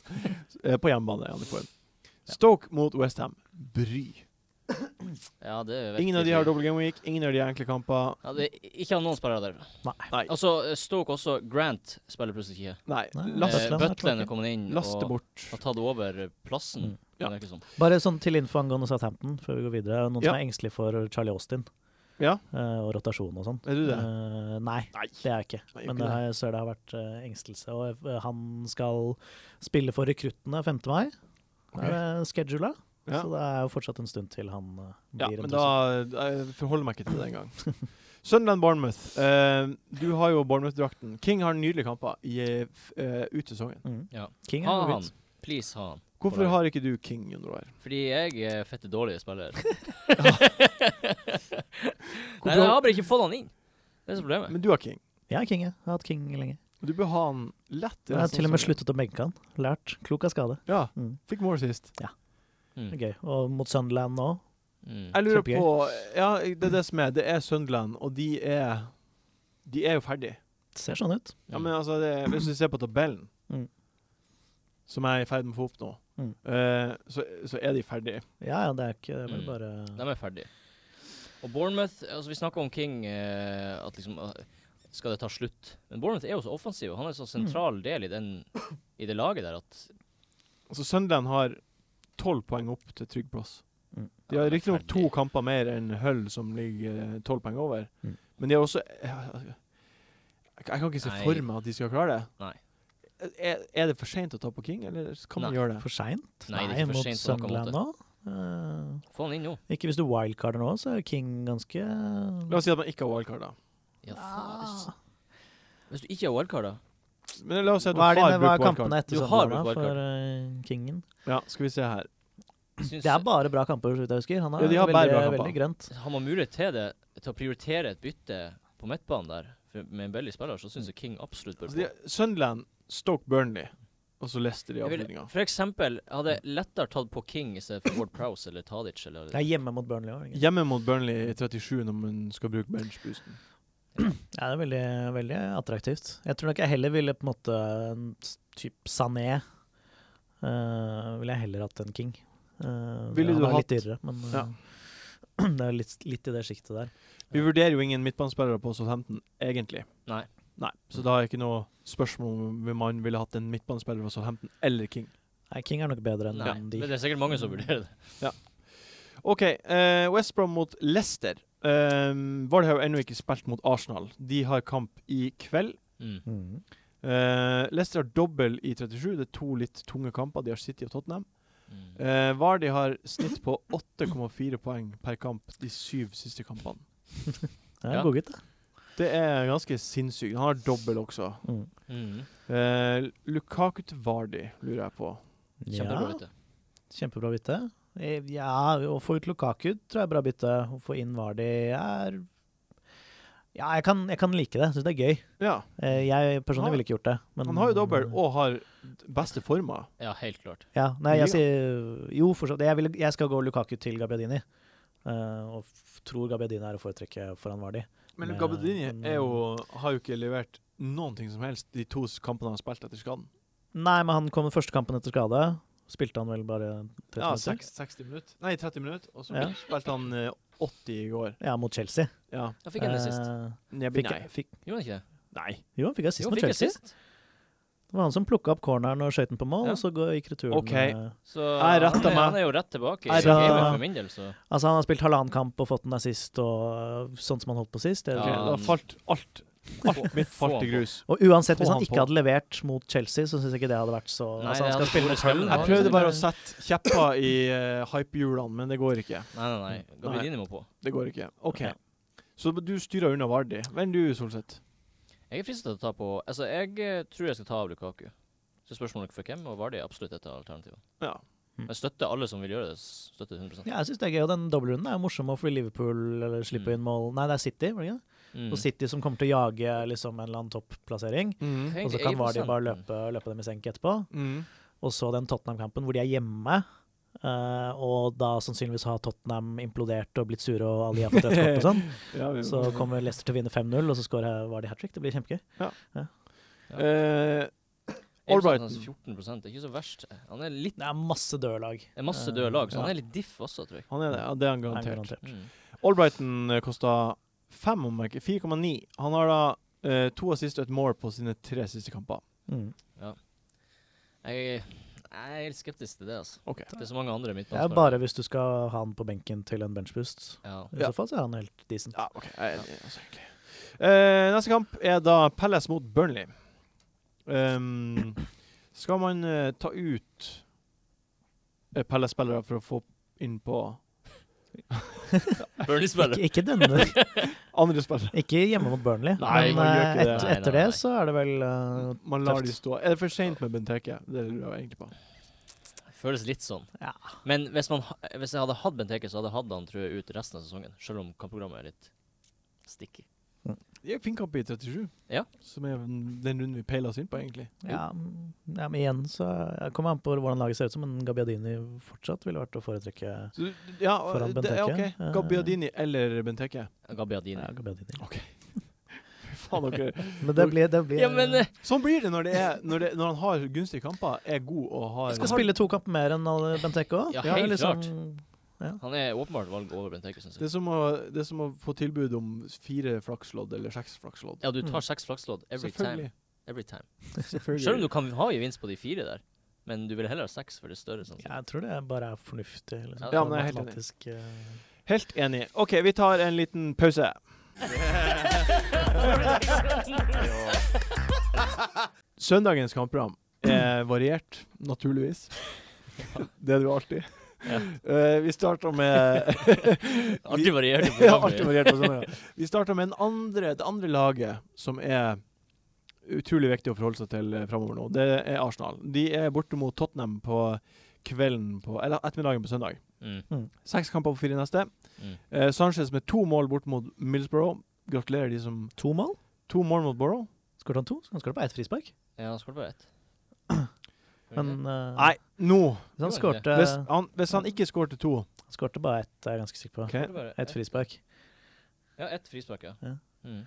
Eh, På hjemmebane er han i form. Stoke mot Westham. Bry. Ja, det vet Ingen av de jeg. har double game week, ingen av de har enkle kamper. ja, det, Ikke av noen spillere der. Nei. Altså, Stoke også. Grant spiller plutselig ikke. Nei. Nei. Last, Eh, Butland er Butland tilbake. er kommet inn last det og bort. har tatt over eh, plassen. Mm. Ja. kan det virke som. Bare sånn til info angående Southampton, før vi går videre. Noen Ja. som er engstelig for Charlie Austin Ja, eh, og rotasjon og sånn. er du det? Eh, nei, Nei. det er jeg ikke. Nei, Men ikke det har, jeg ser det har vært eh, engstelse. Og eh, han skal spille for rekruttene 5. mai. Ok. Er det schedula? Ja. Så det er jo fortsatt en stund til han eh, Ja, blir men en da eh, trussel. Jeg forholder meg ikke til det engang. Sunderland Bournemouth. Eh, du har jo Bournemouth-drakten. King har nydelige kamper i, eh, f- eh, ut sesongen. mm. Ja. King Ha er jo han. ut. Please ha han. Hvorfor har ikke du King under der? Fordi jeg er fette dårlig spiller. Nei, Hvorfor- jeg har bare ikke fått han inn. Det er så problemet. Men du har King. Ja, King. Jeg. jeg har hatt King lenge. Du bør ha han lett. i Jeg har resten til og av med sesongen. sluttet å benke han. Lært. Klok av skade. Ja, Mm. fikk mål sist. Det Mm. er Gøy. Og mot Sunderland nå. Mm. Jeg lurer Kjempegøy. på Ja, det er det som er. Det er Sunderland, og de er De er jo ferdig. Ser sånn ut. Ja, Mm. men altså, det, hvis du ser på tabellen, Mm. som jeg er i ferd med å få opp nå, Mm. eh, så, så er de ferdige. Ja, ja, det er ikke det er vel Mm. bare De er ferdige. Og Bournemouth altså Vi snakka om King, eh, at liksom eh, Skal det ta slutt? Men Bournemouth er jo så offensiv, og han er så Mm. sentral del i, den, i det laget der at Altså, Sunderland har tolv poeng opp til trygg plass. Mm. De har Ja, det er riktignok to ferdig. kamper mer enn Hull, som ligger eh, tolv poeng over, Mm. men de har også jeg, jeg kan ikke se Nei. for meg at de skal klare det. Nei. Er, er det for seint å ta på King, eller kan man Nei. gjøre det? for seint. Nei, det er ikke for mot sent på noen Sunderland nå. Eh, Få han inn nå. ikke hvis du wildcarder nå, så er jo King ganske La oss si at man ikke har wildcard, da. Ja, faen, hvis, Ah. hvis du ikke har wildcard, da. Men la oss si at du Hva er, har dine, hva er brukt wildcard. kampene etter Du har Sunderland brukt da, wildcard. for eh, Kingen? Ja, skal vi se her. Syns, Det er bare bra kamper, så vidt jeg husker. Han Ja, er de har bare veldig, bra kamper. veldig grønt. Har man mulighet til det, til å prioritere et bytte på midtbanen der, for- med en billig spiller, så syns jeg King absolutt bør Altså, få. de, Sunderland, Stoke Burnley, og så Leicester i Jeg vil, avslutninga. for eksempel, jeg hadde lettere tatt på King i stedet for Ward Prowse eller Tadic. Eller, Det er hjemme mot Burnley òg. Ja. Hjemme mot Burnley i 37 når man skal bruke benchboosten. det er veldig, veldig attraktivt. Jeg tror nok jeg heller ville på en måte en s- typ Sané eh, Ville jeg heller hatt enn King. Eh, Ville han du er litt hatt- dyrere, men eh, Ja. det er litt, litt i det sjiktet der. Vi vurderer jo ingen midtbanespillere på Southampton, egentlig. Nei. Nei, Så da er ikke noe spørsmål om hvem man ville hatt en midtbanespiller fra Southampton eller King. Nei, King er nok bedre enn nei, de. men det er sikkert mange som vurderer det. OK, eh, West Brom mot Leicester. Um, Vard har jo ennå ikke spilt mot Arsenal. De har kamp i kveld. Mm. Mm. Eh, Leicester har dobbel i 37. Det er to litt tunge kamper. De har City og Tottenham. Mm. Eh, Vardy har snitt på 8,4 poeng per kamp de syv siste kampene. Det er Ja. en godgutt, det. Det er ganske sinnssykt. Han har dobbel også. Mm. Mm. Eh, Lukaku til Vardy lurer jeg på. Kjempebra Ja. bytte. Kjempebra bytte. Eh, Ja, å få ut Lukaku tror jeg er bra bytte. Å få inn Vardi er Ja, jeg kan, jeg kan like det. Syns det er gøy. Ja, Eh, Jeg personlig Han- ville ikke gjort det. Men, Han har jo dobbel og har beste forma. Ja, helt klart. Ja, nei, jeg Liga. sier Jo, for så vidt. Jeg, ville- jeg skal gå Lukaku til Gabbiadini. eh, og f tror Gabbiadini er å foretrekke foran Vardi. Men Men- Gabadini men- er jo, har jo ikke levert noen ting som helst de to kampene han har spilt etter skaden. Nei, men han kom den første kampen etter skade. Spilte han vel bare 30 Ja, minutter? seks- 60 minutter. Nei, 30 minutter. Og så Ja. spilte han eh, 80 i går. Ja, mot Chelsea. Ja. Da fikk jeg det sist. Eh, Nebbi, fikk, nei. fikk, Gjorde han ikke det? Nei. jo, han fikk assist Jo, mot fikk jeg Chelsea. sist. Det var han som plukka opp corneren og skøyt den på mål, Ja. og så går- gikk returen. Ok. eh, Så Jeg rettet han, er, meg. han er jo rett tilbake. Jeg i rettet gamet meg. for min del, så Altså Han har spilt halvannen kamp og fått en assist, og øh, sånn som han holdt på sist. Det er Ok, jo Ja. Da falt alt. Alt mitt få falt han i på. grus. Og uansett, Få hvis han han ikke på. hadde levert mot Chelsea, så syns jeg ikke det hadde vært så Nei, det Altså Han hadde skal spille vært mot Hull. skremmende. Jeg prøvde bare å sette kjepper i eh, hypehjulene, men det går ikke. Nei, nei, nei. Gabidini må på. Det går ikke. OK. Ja. Så du styrer unna Vardi. Hvem du, Solseth? Jeg er fristet til å ta på Altså, jeg eh, tror jeg skal ta av Lukaku. Så spørsmålet er for hvem, og Vardi er absolutt et av alternativene. Ja. Jeg støtter alle som vil gjøre det. s- Støtter 100 Ja, jeg syns det er gøy, og den dobbeltrunden er jo morsom, og fordi Liverpool eller Mm. slipper inn mål Nei, det er City, var det ikke det? mm. Og City som kommer til å jage liksom en eller annen topplassering. Mm. Og så kan Vardy bare løpe, løpe dem i senk etterpå. Mm. Og så den Tottenham-kampen hvor de er hjemme. Eh, og da sannsynligvis har Tottenham implodert og blitt sure og Ali har fått rødt kort og sånn. Ja, vi, Så kommer Leicester til å vinne 5-0, og så skårer Vardy hat trick. Det blir kjempegøy. Eh, Albrighton. Albrighton. 14 det er ikke så verst. Han er litt Det er masse døde lag. Det er masse døde lag, så Eh, Ja. han er litt diff også, tror jeg. han er det. Ja, det er han Nei, garantert. garantert. Mm. Albrighton eh, kosta fem, om jeg ikke 4,9. Han har da eh, to assist og et mål på sine tre siste kamper. Mm. Jeg, jeg er helt skeptisk til det, altså. Ok. Det er så mange andre Det er midtbanespillere. bare hvis du skal ha han på benken til en benchboost. Ja. I Ja. så fall så er han helt decent. Ja, OK. Jeg er enig, altså, egentlig. Eh, neste kamp er da Palace mot Burnley. Ehm, skal man eh, ta ut uh, Palace-spillere for å få inn på Burnley-spiller. Ikke, ikke denne. andre spillere? Ikke hjemme mot Burnley. Nei, men man gjør eh, ikke det. et, Nei, nei, etter det nei. så er det vel eh, Man lar tøft. de stå. Er det for seint med Benteke? Det lurer jeg egentlig på. Føles litt sånn. Ja. Men hvis, man, ha- hvis jeg hadde hatt Benteke, så hadde jeg hatt han tror jeg, ut resten av sesongen. Selv om kampprogrammet er litt sticky. Det er fin kamp i 37, Ja. som er den den runden vi peiler oss inn på, egentlig. Ja, mm, ja, men igjen så jeg kommer an på hvordan laget ser ut som, men Gabbiadini fortsatt ville vært å foretrekke Så, du- ja, eh, Foran det er Benteke. Eh. OK. Gabbiadini eller Benteke. Gabbiadini. ja, Gabbiadini. Faen, dere. eh, Men det blir, det blir Ja, men eh, Sånn blir det når, det er, når, det, når han har gunstige kamper, er god og har Jeg skal spille to kamper mer enn alle Benteke liksom- òg. Ja, helt han er åpenbart valg over Benteke, syns Det er, jeg. som å, det er som å få tilbud om fire flakslodd eller seks flakslodd. Ja, du tar Mm. seks flakslodd every time. Selvfølgelig. Every time. Selvfølgelig. Selv om du kan ha gevinst på de fire der, men du vil heller ha seks for det større. Sånn. Jeg tror det bare er fornuftig. Liksom. Ja, men jeg er helt enig. Matematisk, eh, Helt enig. OK, vi tar en liten pause. Søndagens kampprogram er variert, naturligvis. Det er det jo alltid. Eh, vi starter med Alltid varierte Ja, alltid programmer. variert på sånn, ja. Vi starter med den andre, det andre laget som er utrolig viktig å forholde seg til eh, framover nå. Det er Arsenal. De er borte mot Tottenham på kvelden på, eller ettermiddagen på søndag. Mm. Seks kamper på fire neste. Mm. Eh, Sanchez med to mål bort mot Middlesbrough. Gratulerer de som to mål. To mål mot Borough. Skåret han to, så han skåret på ett frispark. Ja, han skåret bare ett. Men eh, Nei, nå! hvis Gjorde han han det? skårte Hvis han, hvis han ikke skårte to Han skårte bare ett, er jeg ganske sikker på. OK. Skåret bare Ett frispark. Ja, ett frispark, ja. Ja. Mm.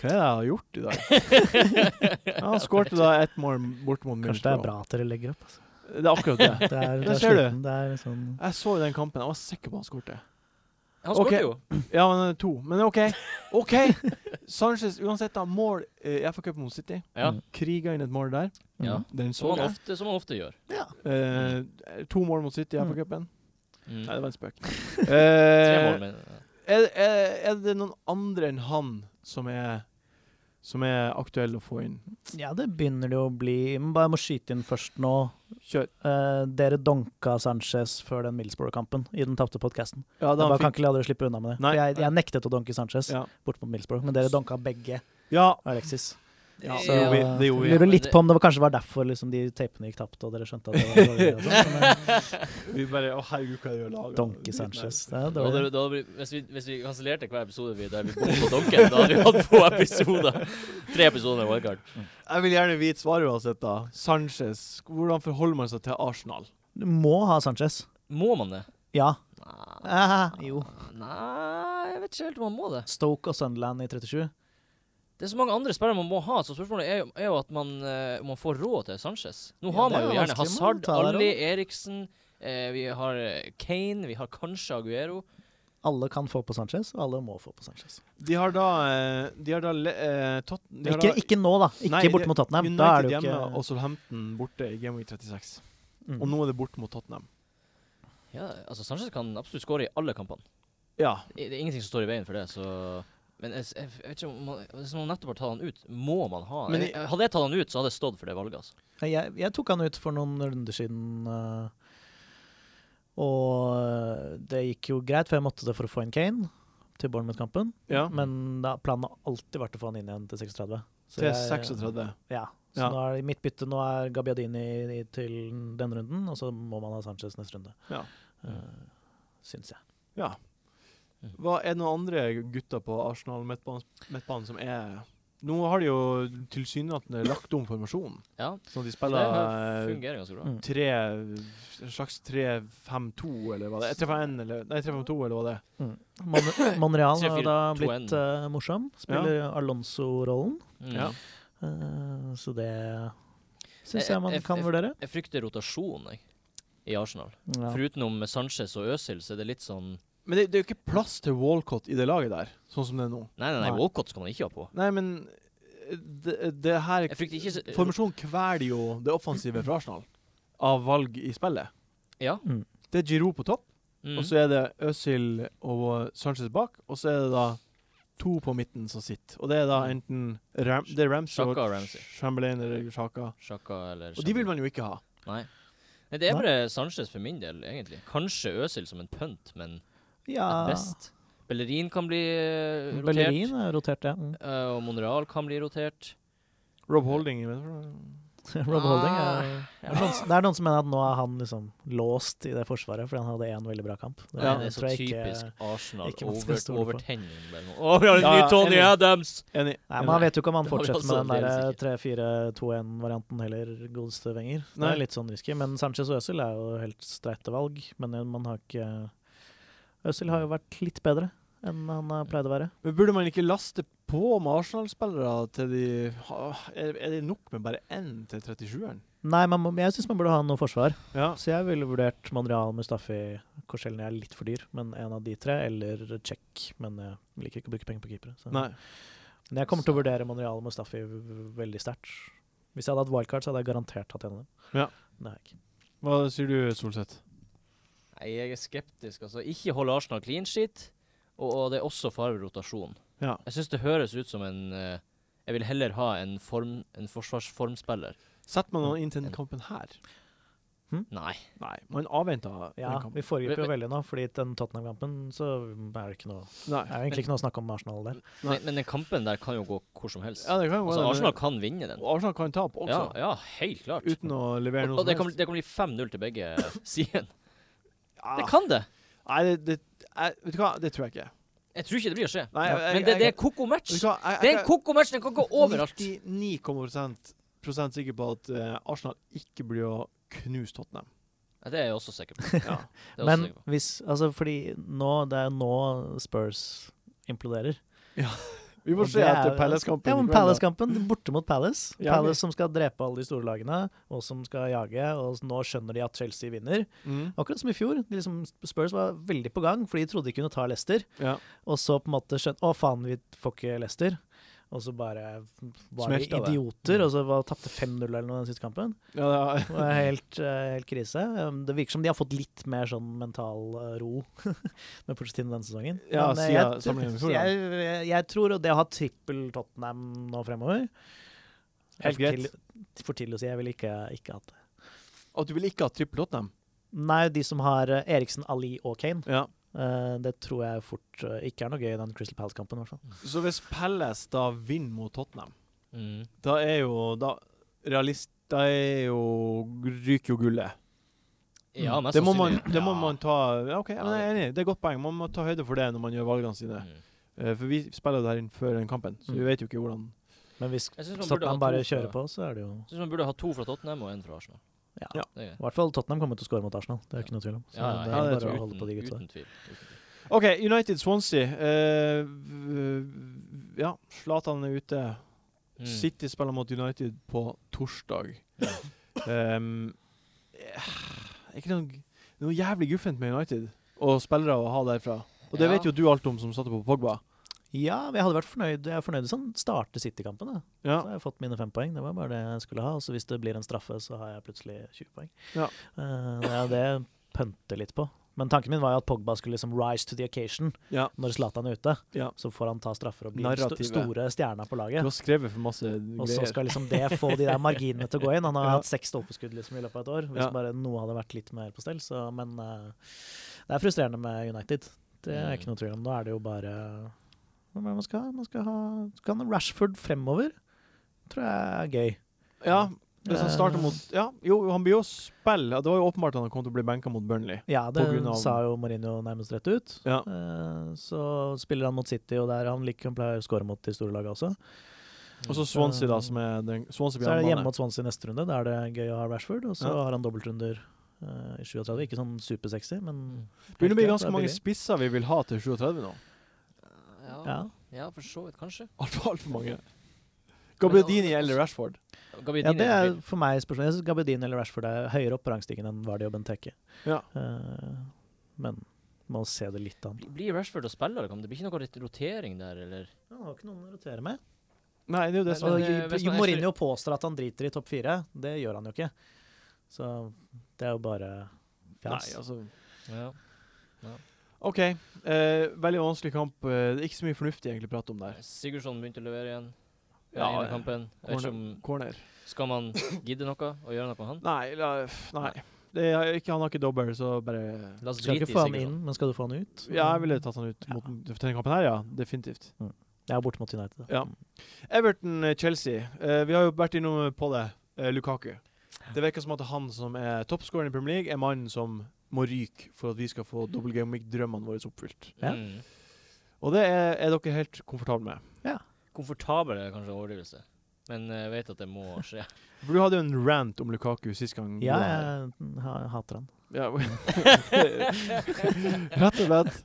Hva er det jeg har gjort i dag? Ja, han skårte da ett mål bort mot Kanskje det er Middlesbrough. bra at dere legger opp. Altså. Det er akkurat det. Det er, det Der er ser du. sliten. Det er sånn Jeg så den kampen, jeg var sikker på han skårte. Han skåret Ok. jo. Ja, men det er to. Men OK. OK! Sanchez, uansett, da. Mål eh, i FA-cup mot City. Ja. Mm. Kriga inn et mål der. Ja. mm. Den så Som han jeg. ofte, som han ofte gjør. Eh, to mål mot City i Mm. FA-cupen. Mm. Nei, det var en spøk. Tre mål, Eh, men ja. er, er, er det noen andre enn han som er som er aktuell å få inn? Ja, det begynner det jo å bli. Men bare jeg må skyte inn først nå. Kjør. Eh, dere donka Sanchez før den Middlesbrough-kampen i den tapte podkasten. Ja, Jeg da bare han kan fikk, ikke la dere slippe unna med det. Nei. For jeg, jeg nektet å donke Sanchez ja. bort mot Middlesbrough, men dere donka begge ja. Alexis. Ja, Så det gjorde vi- det gjorde vi. jeg lurer Men litt det- på om det var, kanskje var derfor liksom, de tapene gikk tapt, og dere skjønte at det var dårlig. og sånt, men, eh, Vi bare Å, herregud, hva gjør laget? Donke Sanchez. Det er Da hadde, dårlig. da hadde, vi- hvis, vi, hvis vi kansellerte hver episode vi, der vi bom på donken, da hadde vi hatt få episoder. Tre episoder med wildcard. Jeg vil gjerne vite svaret uansett, da. Sanchez, hvordan forholder man seg til Arsenal? Du må ha Sanchez. Må man det? Ja. Nei, Ah, jo. Nei, jeg vet ikke helt om man må det. Stoke og Sunderland i 37. Det er så mange andre spillere man må ha, så spørsmålet er jo, er jo at man, eh, om man får råd til Sanchez. Nå Ja, har man det er jo vanskelig, gjerne Hazard, man må ta der Ali, Eriksen, eh, vi har eh, Kane, vi har kanskje Aguero. Alle kan få på Sanchez, og alle må få på Sanchez. De har da eh, De har da le- eh, Tot- de har Ikke, da ikke nå, da. Ikke Nei, borte mot Tottenham. United Da er det jo ikke hjemme og Southampton borte i Game Week 36. Mm. Og nå er det bort mot Tottenham. Ja, altså Sanchez kan absolutt skåre i alle kampene. Ja. Det er ingenting som står i veien for det, så Men jeg, s- jeg, jeg vet ikke om man, hvis man nettopp har tatt han ut, må man ha Men jeg, Hadde jeg tatt han ut, så hadde jeg stått for det valget, altså. Nei, Jeg, jeg tok han ut for noen runder siden, øh, og øh, det gikk jo greit, for jeg måtte det for å få inn Kane til Bournemouth-kampen. ja. Men da, planen har alltid vært å få han inn igjen til 36. Så Til jeg- 36. Ja. Så Ja. nå er mitt bytte nå er Gabbiadini i- til denne runden, og så må man ha Sanchez neste runde. Ja. Øh, Syns jeg. Hva Er det noen andre gutter på Arsenal midtbanen midtbanen som er Nå har de jo tilsynelatende lagt om formasjonen, Ja, sånn at de så det spiller her eh, fungerer ganske bra. Mm. tre En slags 3-5-2, eller hva det er. 3-5-1, eller Nei, 3-5-2, eller hva det er. mm. Mon Monreal har jo da 3-4-2-1. blitt eh, morsom. Spiller Alonso-rollen. Mm. Ja. Eh, så det Jeg- syns jeg man jeg- kan jeg- vurdere. Jeg frykter rotasjon jeg, i Arsenal. Ja. eh, For utenom Sanchez og Øzil, så er det litt sånn Men det, det er jo ikke plass til Walcott i det laget der, sånn som det er nå. Nei, nei, nei, Nei. Walcott skal man ikke ha på. Nei, men eh, det, det her Jeg frykter ikke så- Formasjonen kveler jo det offensive fra Arsenal av valg i spillet. Ja. Mm. Det er Giroud på topp, Mm. og så er det Øzil og Sanchez bak, og så er det da to på midten som sitter. Og det er da enten Ram, det er Ramsey Shaka Mm. og og Ramsey. Chamberlain eller Shaka. Sjaka eller Og de vil man jo ikke ha. Nei. Nei, det er Nei. bare Sanchez for min del, egentlig. Kanskje Øzil som en pønt, men Ah. ja. at best. Bellerin kan bli eh, rotert. Bellerin er rotert, ja. Mm. eh, og Monreal kan bli rotert. Rob Holding i Eh, Rob Holding er Ja. det er noen som- Det er noen som mener at nå er han liksom låst i det forsvaret fordi han hadde én veldig bra kamp. Det, Ja, Nei, det er så tror jeg ikke- typisk Arsenal. ikke man skal Over, stole på. overtenning. bare nå. Å, vi har en Ja, ny Tony enig. Adams! Enig. Nei, Man vet jo ikke om han Det har vi fortsetter også med den der delvis 3-4-2-1-varianten heller, godeste Wenger. Det Nei. er litt sånn risky. Men Sanchez og Øzil er jo helt streite valg. Men eh, man har ikke Øzil har jo vært litt bedre enn han har pleid å være. Men burde man ikke laste på med Arsenal-spillere til de ha- Er er det nok med bare én til 37-eren? Nei, man må, jeg syns man burde ha noe forsvar. Ja. Så jeg ville vurdert Monreal, Mustafi Korselny er litt for dyr, men en av de tre. Eller Czech, men jeg liker ikke å bruke penger på keepere. Så. Nei. Men jeg kommer til å vurdere Monreal og Mustafi v- v- veldig sterkt. Hvis jeg hadde hatt wildcard, så hadde jeg garantert hatt en av dem. Ja. Men Det har jeg ikke. Hva sier du, Solseth? Nei, jeg er skeptisk. altså. Ikke holde Arsenal clean sheet, og, og det er også fare ved rotasjon. Ja. Jeg syns det høres ut som en eh, Jeg vil heller ha en, form, en forsvarsformspiller. Setter man noen inn til denne kampen her? Nei. Nei, man avventer Ja, den kampen. vi foregriper jo veldig nå, fordi den Tottenham-kampen så er det ikke noe Det Nei. er egentlig ikke noe å snakke om Arsenal der. Nei. Men, men den kampen der kan jo gå hvor som helst. Ja, det kan jo altså, være det, Arsenal kan vinne den. men- Og Arsenal kan tape Ja, også, ja, helt klart. uten å levere og noe og det, som kan, helst. bli- det kan bli 5-0 til begge sidene. Ja. Det kan det! Nei, det, det jeg, Vet du hva, det tror jeg ikke. Jeg tror ikke det blir å skje. Nei, jeg- jeg- Men det, det er jeg- koko match! Vet du hva, jeg- jeg- Det er en koko match, den kan gå overalt. 99,9 prosent sikker på at eh, Arsenal ikke blir å knuse Tottenham. Ja, Det er jeg også sikker på. Ja. Det er jeg også Men sikker på. hvis Altså, fordi nå Det er nå Spurs imploderer. Vi får Og se det etter er- Palace-kampen. Ja, i men kveld, da. Palace-kampen. Borte mot Palace. Ja, vi- Palace som skal drepe alle de store lagene, og som skal jage. Og nå skjønner de at Chelsea vinner. Mm. Akkurat som i fjor. De liksom, Spurs var veldig på gang, for de trodde de kunne ta Leicester. Ja. Og så på en måte skjønte Å, faen, vi får ikke Leicester. Og så bare var de Smelta det. Mm. idioter, og så var- tapte 5-0 eller noe den siste kampen. Ja, det Det var helt, eh, helt krise. Um, Det virker som de har fått litt mer sånn mental eh, ro med Pochettino denne sesongen. Ja, Men, eh, siden jeg- sammenlignet med så fjor, da. jeg, jeg tror og det å ha trippel Tottenham nå fremover er Helt for greit. tidlig- For tidlig å si. Jeg ville ikke, ikke hatt det. er- At du vil ikke ha trippel Tottenham? Nei, de som har eh, Eriksen, Ali og Kane, Ja. eh, det tror jeg fort eh, ikke er noe gøy i den Crystal Palace-kampen, i hvert fall. Så hvis Palace da vinner mot Tottenham, Mm. da er jo da realist, Da er jo Ryker jo gullet. Ja, Mm. mest Det må, man, sannsynlig. det må Ja. man ta ja, OK, men jeg er enig. Det er et godt poeng. Man må ta høyde for det når man gjør valgene sine. Mm. Eh, For vi spiller jo der inn før den kampen, så vi Mm. vet jo ikke hvordan Men hvis Jeg syns man, burde ha Tottenham to bare fra- kjører på, så er det jo jeg synes man burde ha to fra Tottenham og én fra Arsenal. Ja. Ja. Det er greit. I hvert fall Tottenham kommer til å skåre mot Arsenal, det er ikke noe tvil om. Så Ja, ja, ja, det er det bare tror å jeg. holde på de gutta der. uten tvil. Uten tvil. OK, United Swansea. eh, v- ja, Zlatan er ute. Mm. City spiller mot United på torsdag. Ehm, eh, ikke noe, det er noe jævlig guffent med United og spillere å ha derfra. Og det Ja. vet jo du alt om, som satte på Pogba. Ja, men jeg hadde vært fornøyd Jeg er fornøyd hvis han starter City-kampen. da. Ja. Så har jeg fått mine fem poeng. Det var bare det jeg skulle ha. Og så hvis det blir en straffe, så har jeg plutselig 20 poeng. Ja. Eh, det er jo det jeg pønter litt på. Men tanken min var jo at Pogba skulle liksom rise to the occasion ja. når Zlatan er ute. Ja. Så får han ta straffer og bli den sto Narrativet. store stjerna på Du laget. har skrevet for masse Og så greier. skal liksom det få de der marginene til å gå inn. Han har Ja. hatt seks stolpeskudd liksom i løpet av et år. Hvis Ja. bare noe hadde vært litt mer på stell. Så, men eh, det er frustrerende med United. Det er Mm. ikke noe tvil om. Nå er det jo bare Hva er det man skal ha? Man skal ha kan Rashford fremover tror jeg er gøy. Ja, hvis han Eh, starter sånn mot Ja, jo, han blir jo spill. Ja, Det var jo åpenbart at han kom til å bli benka mot Burnley. Eh, Ja, det På grunn av- sa jo Mourinho nærmest rett ut. Ja. Eh, så spiller han mot City, og der han liker han pleier å score mot de store lagene også. Og Mm. så Swansea, da, som er den Swansea Så blir er det hjemme. hjemme mot Swansea neste runde. Da er det gøy å ha Rashford. Og så Ja. har han dobbeltrunder eh, i 37. Ikke sånn supersexy, men Begynner å bli helt greit, det ganske er mange billig. spisser vi vil ha til 37 nå. Mm. Ja, Ja. ja, for så vidt, kanskje. Altfor alt for mange. Gabriadini eller Rashford. Ja, Gabidini det er for meg spørsmålet. Jeg synes Gabedin eller Rashford er høyere opp på rangstigen enn Vardy og Benteke. Ja. Eh, men må se det litt an. Bli- Blir Rashford å spille, eller? kan Det blir ikke noe rit- rotering der, eller? Ja, har ikke noen å rotere med. Nei, det er jo det Nei, som men- Og er eh, hvis man- Mourinho påstår at han driter i topp fire. Det gjør han jo ikke. Så det er jo bare Nei, fjas. altså Ja. OK. Eh, veldig vanskelig kamp. Eh, det er ikke så mye fornuftig egentlig å prate om der. Sigurdsson begynte å levere igjen. Ja, Ja, ene kampen. Jeg vet ikke om, Corner. skal man gidde noe og gjøre noe med han? Nei, la, f- nei. Det er ikke, han har ikke dobbel, så bare La oss Skal drite i ikke få han Sigurdsson. inn, men skal du få han ut? Ja, jeg ville tatt han ut mot til denne kampen her, ja. Definitivt. Jeg er borte mot United. Ja. Everton-Chelsea. Eh, vi har jo vært innom på det. eh, Lukaku. Det virker som at han som er toppskåreren i Premier League, er mannen som må ryke for at vi skal få double game week-drømmene våre oppfylt. Ja. Mm. Og det er, er dere helt komfortable med. Komfortabel er kanskje overdrivelse, men eh, jeg vet at det må skje. For du hadde jo en rant om Lukaku sist gang. du Ja, var her. Mm. jeg eh, ha, hater han. Ja. Rett og slett.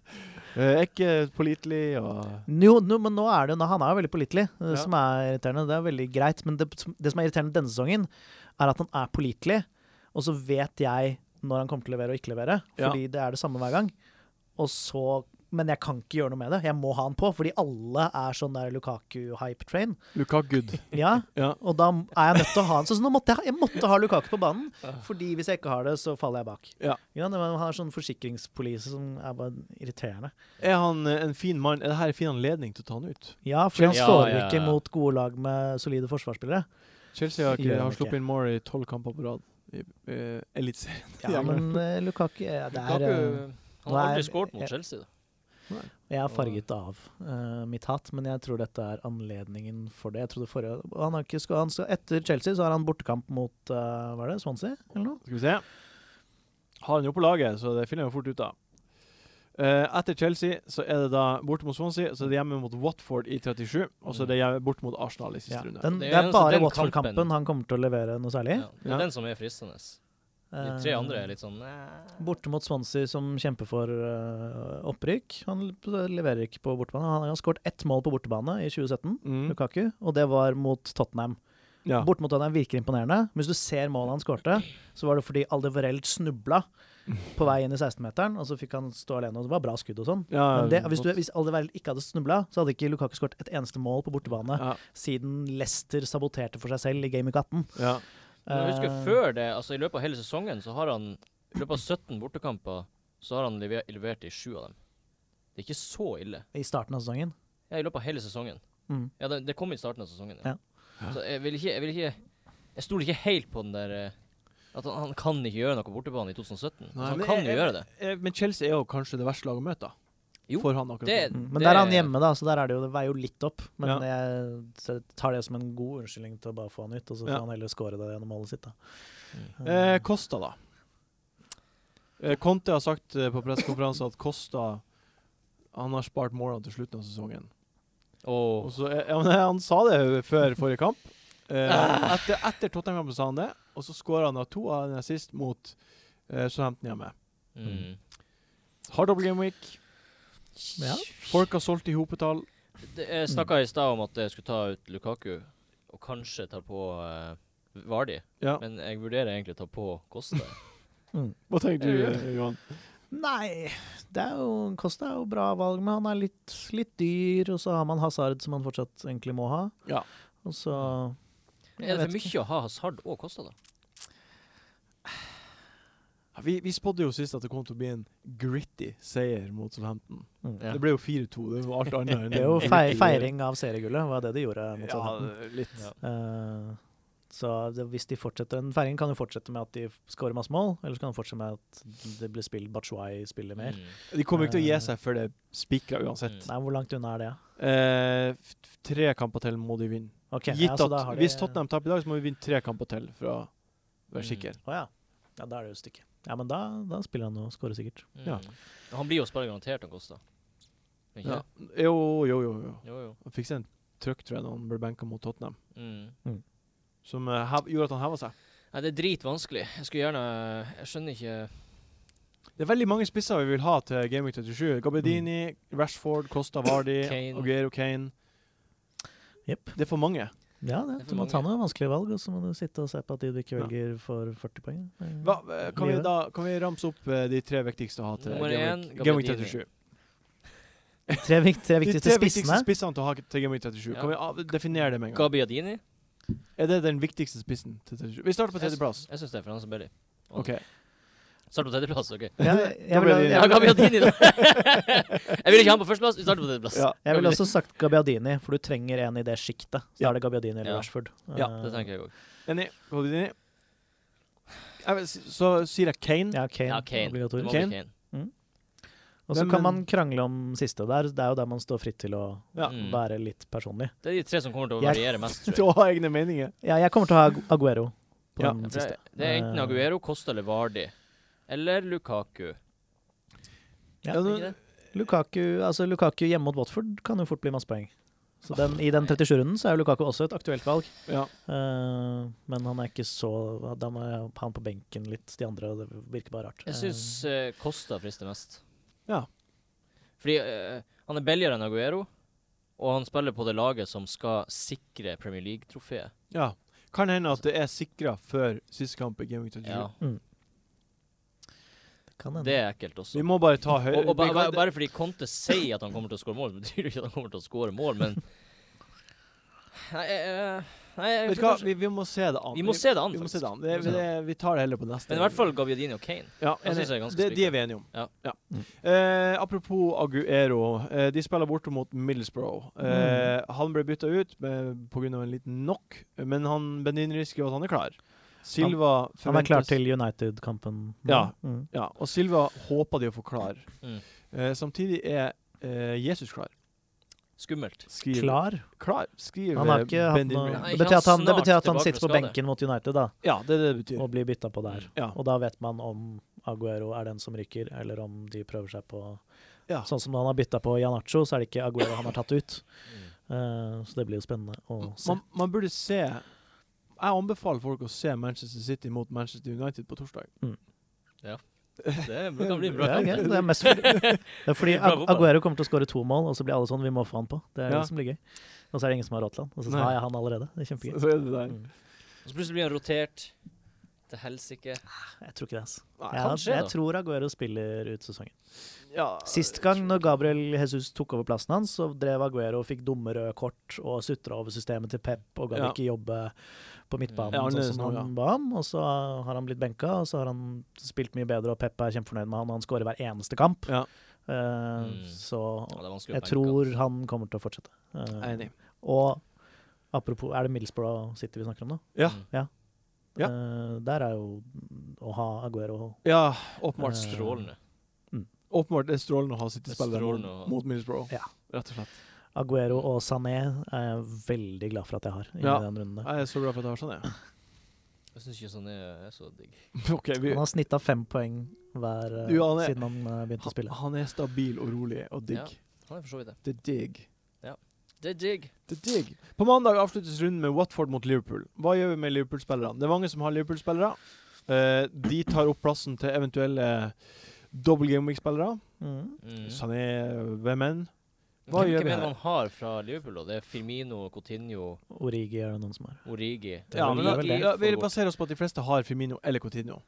Eh, er ikke pålitelig og Jo, nå- men nå er det jo, nå- han er jo veldig pålitelig, eh, Ja. som er irriterende. Det er veldig greit, men det, det som er irriterende denne sesongen, er at han er pålitelig, og så vet jeg når han kommer til å levere og ikke levere, Ja. fordi det er det samme hver gang. Og så, men jeg kan ikke gjøre noe med det. Jeg må ha han på, fordi alle er sånn der Lukaku-hype train. Lukaku. Ja, Ja. og da er jeg nødt til å ha han. Så, så nå måtte jeg, jeg måtte ha Lukaku på banen, fordi hvis jeg ikke har det, så faller jeg bak. Ja. Ja, det var- han er sånn forsikringspolise som er bare irriterende. Er han eh, en fin mann? Er det her en fin anledning til å ta han ut? Ja, for han Chelsea- står Ja, ja, ikke ja. mot gode lag med solide forsvarsspillere. Chelsea har, ikke, Gjør han har ikke. sluppet inn mål i tolv kamper på rad i uh, Eliteserien. Ja, Ja, men eh, Lukaku eh, det er, Lukaku, eh, han har nei, aldri skåret mot jeg- Chelsea, da. Jeg er farget av eh, mitt hat, men jeg tror dette er anledningen for det. Jeg trodde forrige og han har ikke, skal, han skal, Etter Chelsea så har han bortekamp mot eh, hva er det, Swansea eller noe? Skal vi se. Har han jo på laget, så det finner jeg jo fort ut av. Eh, etter Chelsea så er det da borte mot Swansea, så er det hjemme mot Watford i 37, og så er det hjemme borte mot Arsenal i siste Ja. runde. Den, Det det er er eneste bare den kampen. Watford-kampen han kommer til å levere noe særlig. Ja. Det Ja. er den som er fristende. De tre andre er litt sånn eh. Eh, Borte mot Swansea, som kjemper for eh, opprykk. Han leverer ikke på bortebane. Han har skåret ett mål på bortebane i 2017, Mm. Lukaku, og det var mot Tottenham. Ja. Bort mot Tottenham virker imponerende. Men hvis du ser målet han skårte, så var det fordi Aldevarell snubla på vei inn i 16-meteren, og så fikk han stå alene, og det var bra skudd og sånn. Ja, Men det, hvis, du, godt. hvis Aldevarell ikke hadde snubla, så hadde ikke Lukaku skåret et eneste mål på bortebane ja, siden Leicester saboterte for seg selv i Game Week 18. ja. Men jeg husker Eh, før det, altså i løpet av hele sesongen, så har han I løpet av 17 bortekamper, så har han lever, levert i sju av dem. Det er ikke så ille. I starten av sesongen. Ja, I løpet av hele sesongen. Mm. Ja, det, det kom i starten av sesongen. Ja. Ja. Så jeg vil ikke Jeg, vil ikke, jeg stoler ikke helt på den der eh, At han, han kan ikke gjøre noe bortebane i 2017. Nei, altså, han men kan jeg- jo gjøre det. Eh, Men Chelsea er jo kanskje det verste laget å møte, da. Jo, For han akkurat det- nå. Mm. Men der er han hjemme, da, så der er det jo, det veier jo litt opp. Men Ja. jeg så jeg tar det som en god unnskyldning til å bare få han ut, og så får Ja. han heller skåre det gjennom målet sitt. da. Eh, Costa, da. Eh, Conte har sagt eh, på pressekonferanse at Costa Han har spart målene til slutten av sesongen. Og Og så, eh, ja, men han sa det jo før forrige kamp. Eh, etter etter Tottenham-kampen sa han det, og så skåra han da to av en assist mot eh, Southampton hjemme. mm. Har double game week. Eh, Ja. Folk har solgt i hopetall. Det- Jeg snakka i stad om at jeg skulle ta ut Lukaku, og kanskje ta på uh, Vardi. Ja. Men jeg vurderer egentlig å ta på Kosta. Hva tenker du, eh, Johan? Nei, det er jo, Costa er jo bra valg, men han er litt, litt dyr. Og så har man Hazard, som han fortsatt egentlig må ha. Ja. Og så Er det vet for mye å ha Hazard og Kosta, da? Vi, vi spådde jo sist at det kom til å bli en gritty seier mot Southampton. Mm. Ja. Det ble jo 4-2. Det var alt annet enn Det er jo en fei, gritty- feiring av seriegullet, var det de gjorde mot Ja, Southampton. litt. Ja. Eh, så det, hvis de fortsetter Den feiringen kan jo fortsette med at de skårer masse mål, eller så kan det fortsette med at det blir spill, Batshuayi spiller mer. Mm. De kommer jo ikke til å Eh. gi seg før det er spikra uansett. Mm. Nei, hvor langt unna er det? Eh, f- tre kamper til må de vinne. Ok, Gitt ja, at så da har de- Hvis Tottenham taper i dag, så må vi vinne tre kamper til for å være Mm. sikker. Å ja. ja, da er det jo stykket. Ja, men da, da spiller han og skårer sikkert. Mm. Ja. Han blir jo spillet garantert, han Kosta. Ikke Ja. det? Jo, jo, jo. jo. Jo, jo. Han fikk seg en trøkk, tror jeg, da han ble benka mot Tottenham, Mm. som eh, hev, gjorde at han heva seg. Nei, det er dritvanskelig. Jeg skulle gjerne Jeg skjønner ikke Det er veldig mange spisser vi vil ha til Game Week 37. Gabedini, Rashford, Costa Vardi, Mm. Kane. Aguero Kane. Jepp. Det er for mange. Ja, det, Det er for du må ta mange. noen vanskelige valg, og så må du sitte og se på at de du ikke Ja. velger, får 40 poeng. Eh, Hva, eh, kan, vi Livet. da, kan vi ramse opp eh, de tre viktigste å ha til Nummer Game én, Week- Game Week Gabbiadini. 37? Tre, vik tre De viktigste tre viktigste spissene. spissene til å ha til Game Week 37. Ja. Kan vi av- definere det med en gang? Gabiadini. Er det den viktigste spissen til 37? Vi starter på tredjeplass. Jeg syns det, for han er så billig. Og- OK. Start på tredjeplass, OK. Jeg, Da jeg, blir vil, det- Ja, jeg, vil, Gabiadini, da. jeg vil ikke ha han på førsteplass, vi starter på tredjeplass. Ja. jeg ville også sagt Gabiadini, for du trenger en i det sjiktet. Så Ja. er det Gabiadini eller Ja. Rashford. Ja, Det tenker jeg òg. Enig. Gabbiadini. Jeg vil si- Så sier jeg Kane. Eh, Ja, Kane. Ja, Kane. Det må obligatorisk. bli Kane? Kane. Og så Hvem- kan man krangle om siste der. Det er jo der man står fritt til å Ja. Mm. være litt personlig. Det er de tre som kommer til å Jeg- variere mest, Til tror jeg. å ha egne meninger. Ja, jeg kommer til å ha Agu- Aguero på Ja, den For siste. det- Det er enten Eh, Aguero, Costa eller Vardi. Eller Lukaku. Ja. Ja, Er du- ikke det? Lukaku, altså Lukaku hjemme mot Watford kan jo fort bli masse poeng. Så den, I den 37-runden så er jo Lukaku også et aktuelt valg. ja. Eh, men han er ikke så Da må jeg ha han på benken litt, de andre. og Det virker bare rart. Jeg syns eh, Costa frister mest. Ja. Fordi eh, han er billigere enn Aguero, og han spiller på det laget som skal sikre Premier League-trofeet. ja. Kan hende at det er sikra før siste kamp i Game Week 37. Ja. Eh, kan hende. Det er ekkelt også. Vi må bare ta høyre... Og, og ba, vi ba, kan- bare fordi Conte sier at han kommer til å skåre mål, betyr det ikke at han kommer til å skåre mål, men Nei, eh, nei jeg Vet du tror hva, kanskje- vi, vi må se det an. vi må se det an, Vi må se faktisk. det an. Det, Vi må se det, vi tar det heller på neste. Men i hvert fall Gaviadini og Kane. Ja, Jeg enig. synes det er ganske det, de spikra. er vi enige om. Ja. Mm. Eh, apropos Aguero. Eh, de spiller borte mot Middlesbrough. Eh, Mm. Han ble bytta ut pga. en liten knock, men han Benin risikerer at han er klar. Silva Han er forventes- klar til United-kampen. nå. Ja. Mm. Ja, og Silva håper de å få klar. Mm. Eh, samtidig er eh, Jesus klar. Skummelt. Skriver, Klar. Klar, skriver Han har ikke hatt Benjamin. noe Nei, Det ikke betyr at han, det snart betyr at han tilbake sitter fra på skade. benken mot United, da, Ja, det er det det betyr. og blir bytta på der. Ja. Og da vet man om Aguero er den som ryker, eller om de prøver seg på Ja. Sånn som når han har bytta på Janacho, så er det ikke Aguero han har tatt ut. Mm. Eh, så det blir jo spennende å se. Man, man burde se Jeg anbefaler folk å se Manchester City mot Manchester United på torsdag. Det kan bli Ja, bra. ok. det, er mest fordi, det er fordi Bra Ag- fotball. Aguero kommer til å skåre to mål, og så blir alle sånn Vi må få han på. Det er Ja. det som blir gøy. Og så er det ingen som har råd til han. Og så Nei. har jeg han allerede. Det er kjempegøy. Så er det der. Mm. Og så plutselig blir han rotert til helsike. Jeg tror ikke det, altså. Nei, Jeg, kanskje, jeg da. tror Aguero spiller ut sesongen. Ja, Sist gang når Gabriel Jesus tok over plassen hans, så drev Aguero og fikk dumme røde kort og sutra over systemet til Pep og gadd Ja. ikke jobbe på midtbanen, Ja, sånn annerledes som nå, han ja. ba om. Og så har han blitt benka, og så har han spilt mye bedre, og Pep er kjempefornøyd med han, og han skårer hver eneste kamp. Ja. Eh, Mm. Så Ja, det er vanskelig å jeg benke tror han kommer til å fortsette. Eh, jeg er enig. og apropos, er det Middlesbrough City vi snakker om nå? Ja. Mm. Ja. Eh, der er jo å ha Aguero ja, åpenbart. Eh, Strålende. Åpenbart det er strålende å ha City-spillere mot, Strålende å- mot Middlesbrough. Ja. Rett og slett. Aguero og Sané er jeg veldig glad for at jeg har i Ja. den runden der. Jeg er så glad for at jeg har sånn, jeg. Jeg syns ikke sånn er, er så digg. OK, vi, Han har snitta fem poeng hver eh, Du, han er- siden han eh, begynte å han, spille. han er stabil og rolig og digg. Ja. Han er for så vidt det. Det er digg. Det er digg. Det er digg. På mandag avsluttes runden med Watford mot Liverpool. Hva gjør vi med Liverpool-spillerne? Det er mange som har Liverpool-spillere. Eh, de tar opp plassen til eventuelle double game week-spillere. Mm. Mm. Sané, hvem enn. Hva gjør Hvem, hvem vi er det her? man har fra Liverpool? da? Det er Firmino, Coutinho, Origi er det noen som er. Origi. er Ja, vel- men det da, er vel det. ja, vi baserer oss på at de fleste har Firmino eller Coutinho.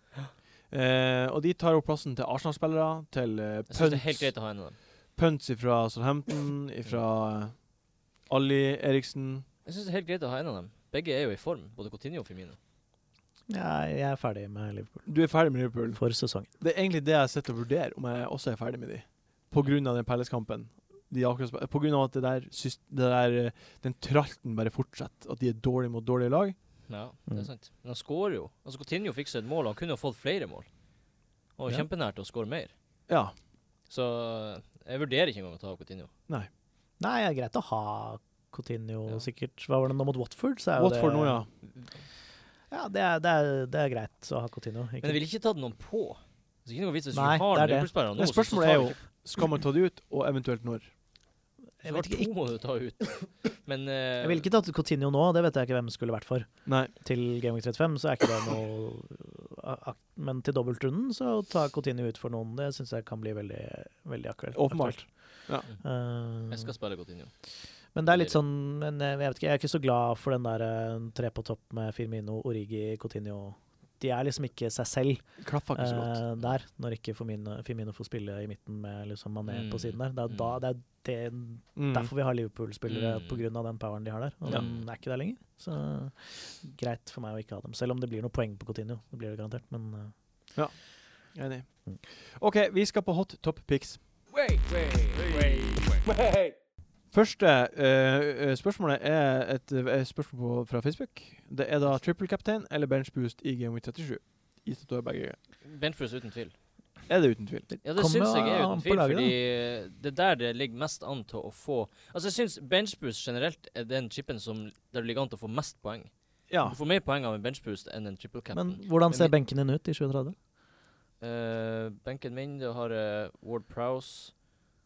Eh, og de tar opp plassen til Arsenal-spillere, til eh, Jeg syns det er helt Punts, greit å ha en av dem. Punts fra Southampton, fra Ali Eriksen Jeg synes det er helt greit å ha en av dem. Begge er jo i form, både Coutinho og Firmino. Ja, jeg er ferdig med Liverpool Du er ferdig med Liverpool. for sesongen. Det er egentlig det jeg sitter og vurderer, om jeg også er ferdig med de. På grunn av den Palace-kampen. De akkurat sp- på grunn av at det der, sys- det der eh, den tralten bare fortsetter. At de er dårlige mot dårlige lag. Ja, det Mm. er sant. Men han skårer jo. Altså, Coutinho fikk seg et mål, han kunne jo fått flere mål. Og Ja. kjempenær til å skåre mer. Ja. Så eh, jeg vurderer ikke engang å ta av Coutinho. Nei, det er greit å ha Coutinho Ja. sikkert. Hva var det nå mot Watford? Så er jo Watford det, nå, ja. ja det, er, det, er, det er greit å ha Coutinho. Men Ikke? jeg ville ikke tatt noen på. Så ikke noe vits hvis Nei, vi har det er en det. Liverpool-spiller nå. Men så- så spørsmålet tar er vi jo skal man ta det ut, og eventuelt når. Det Jeg var vet ikke, to må du ta ut. Men eh, jeg ville ikke tatt ut Coutinho nå, det vet jeg ikke hvem skulle vært for. Nei. Til Game Week 35 så er ikke det noe ak- Men til dobbeltrunden så ta Coutinho ut for noen. Det syns jeg kan bli veldig, veldig aktuelt. Åpenbart. Eh, jeg skal spille godt inn, jo. men det er litt sånn men jeg vet ikke, Jeg er ikke så glad for den der eh, tre på topp med Firmino, Origi, Coutinho. De er liksom ikke seg selv Klaffa ikke så godt. eh, der, når ikke Firmino, Firmino får spille i midten med liksom Mané Mm. på siden der. Det er, da, det er det, Mm. derfor vi har Liverpool-spillere, Mm. pga. den poweren de har der. Og Ja. den er ikke der lenger. Så greit for meg å ikke ha dem. Selv om det blir noen poeng på Coutinho. Det blir det garantert, men eh, Enig. OK, vi skal på hot top pics. Første eh, eh, spørsmålet er et eh, spørsmål på, fra Facebook. Det er da triple captain eller bench boost i Game Week 37. Gitt at du har begge. Benchpress uten tvil. Er det uten tvil. Ja, det Kommer syns jeg er an uten på tvil, laget, fordi eh, det er der det ligger mest an til å få Altså, jeg syns benchboost generelt er den chipen som der det ligger an til å få mest poeng. Ja. Du får mer poeng av en benchboost enn en triple cap'n. Men hvordan Men ser vi- benken din ut i 2030? Eh, benken min, jeg har eh, Ward Prowse,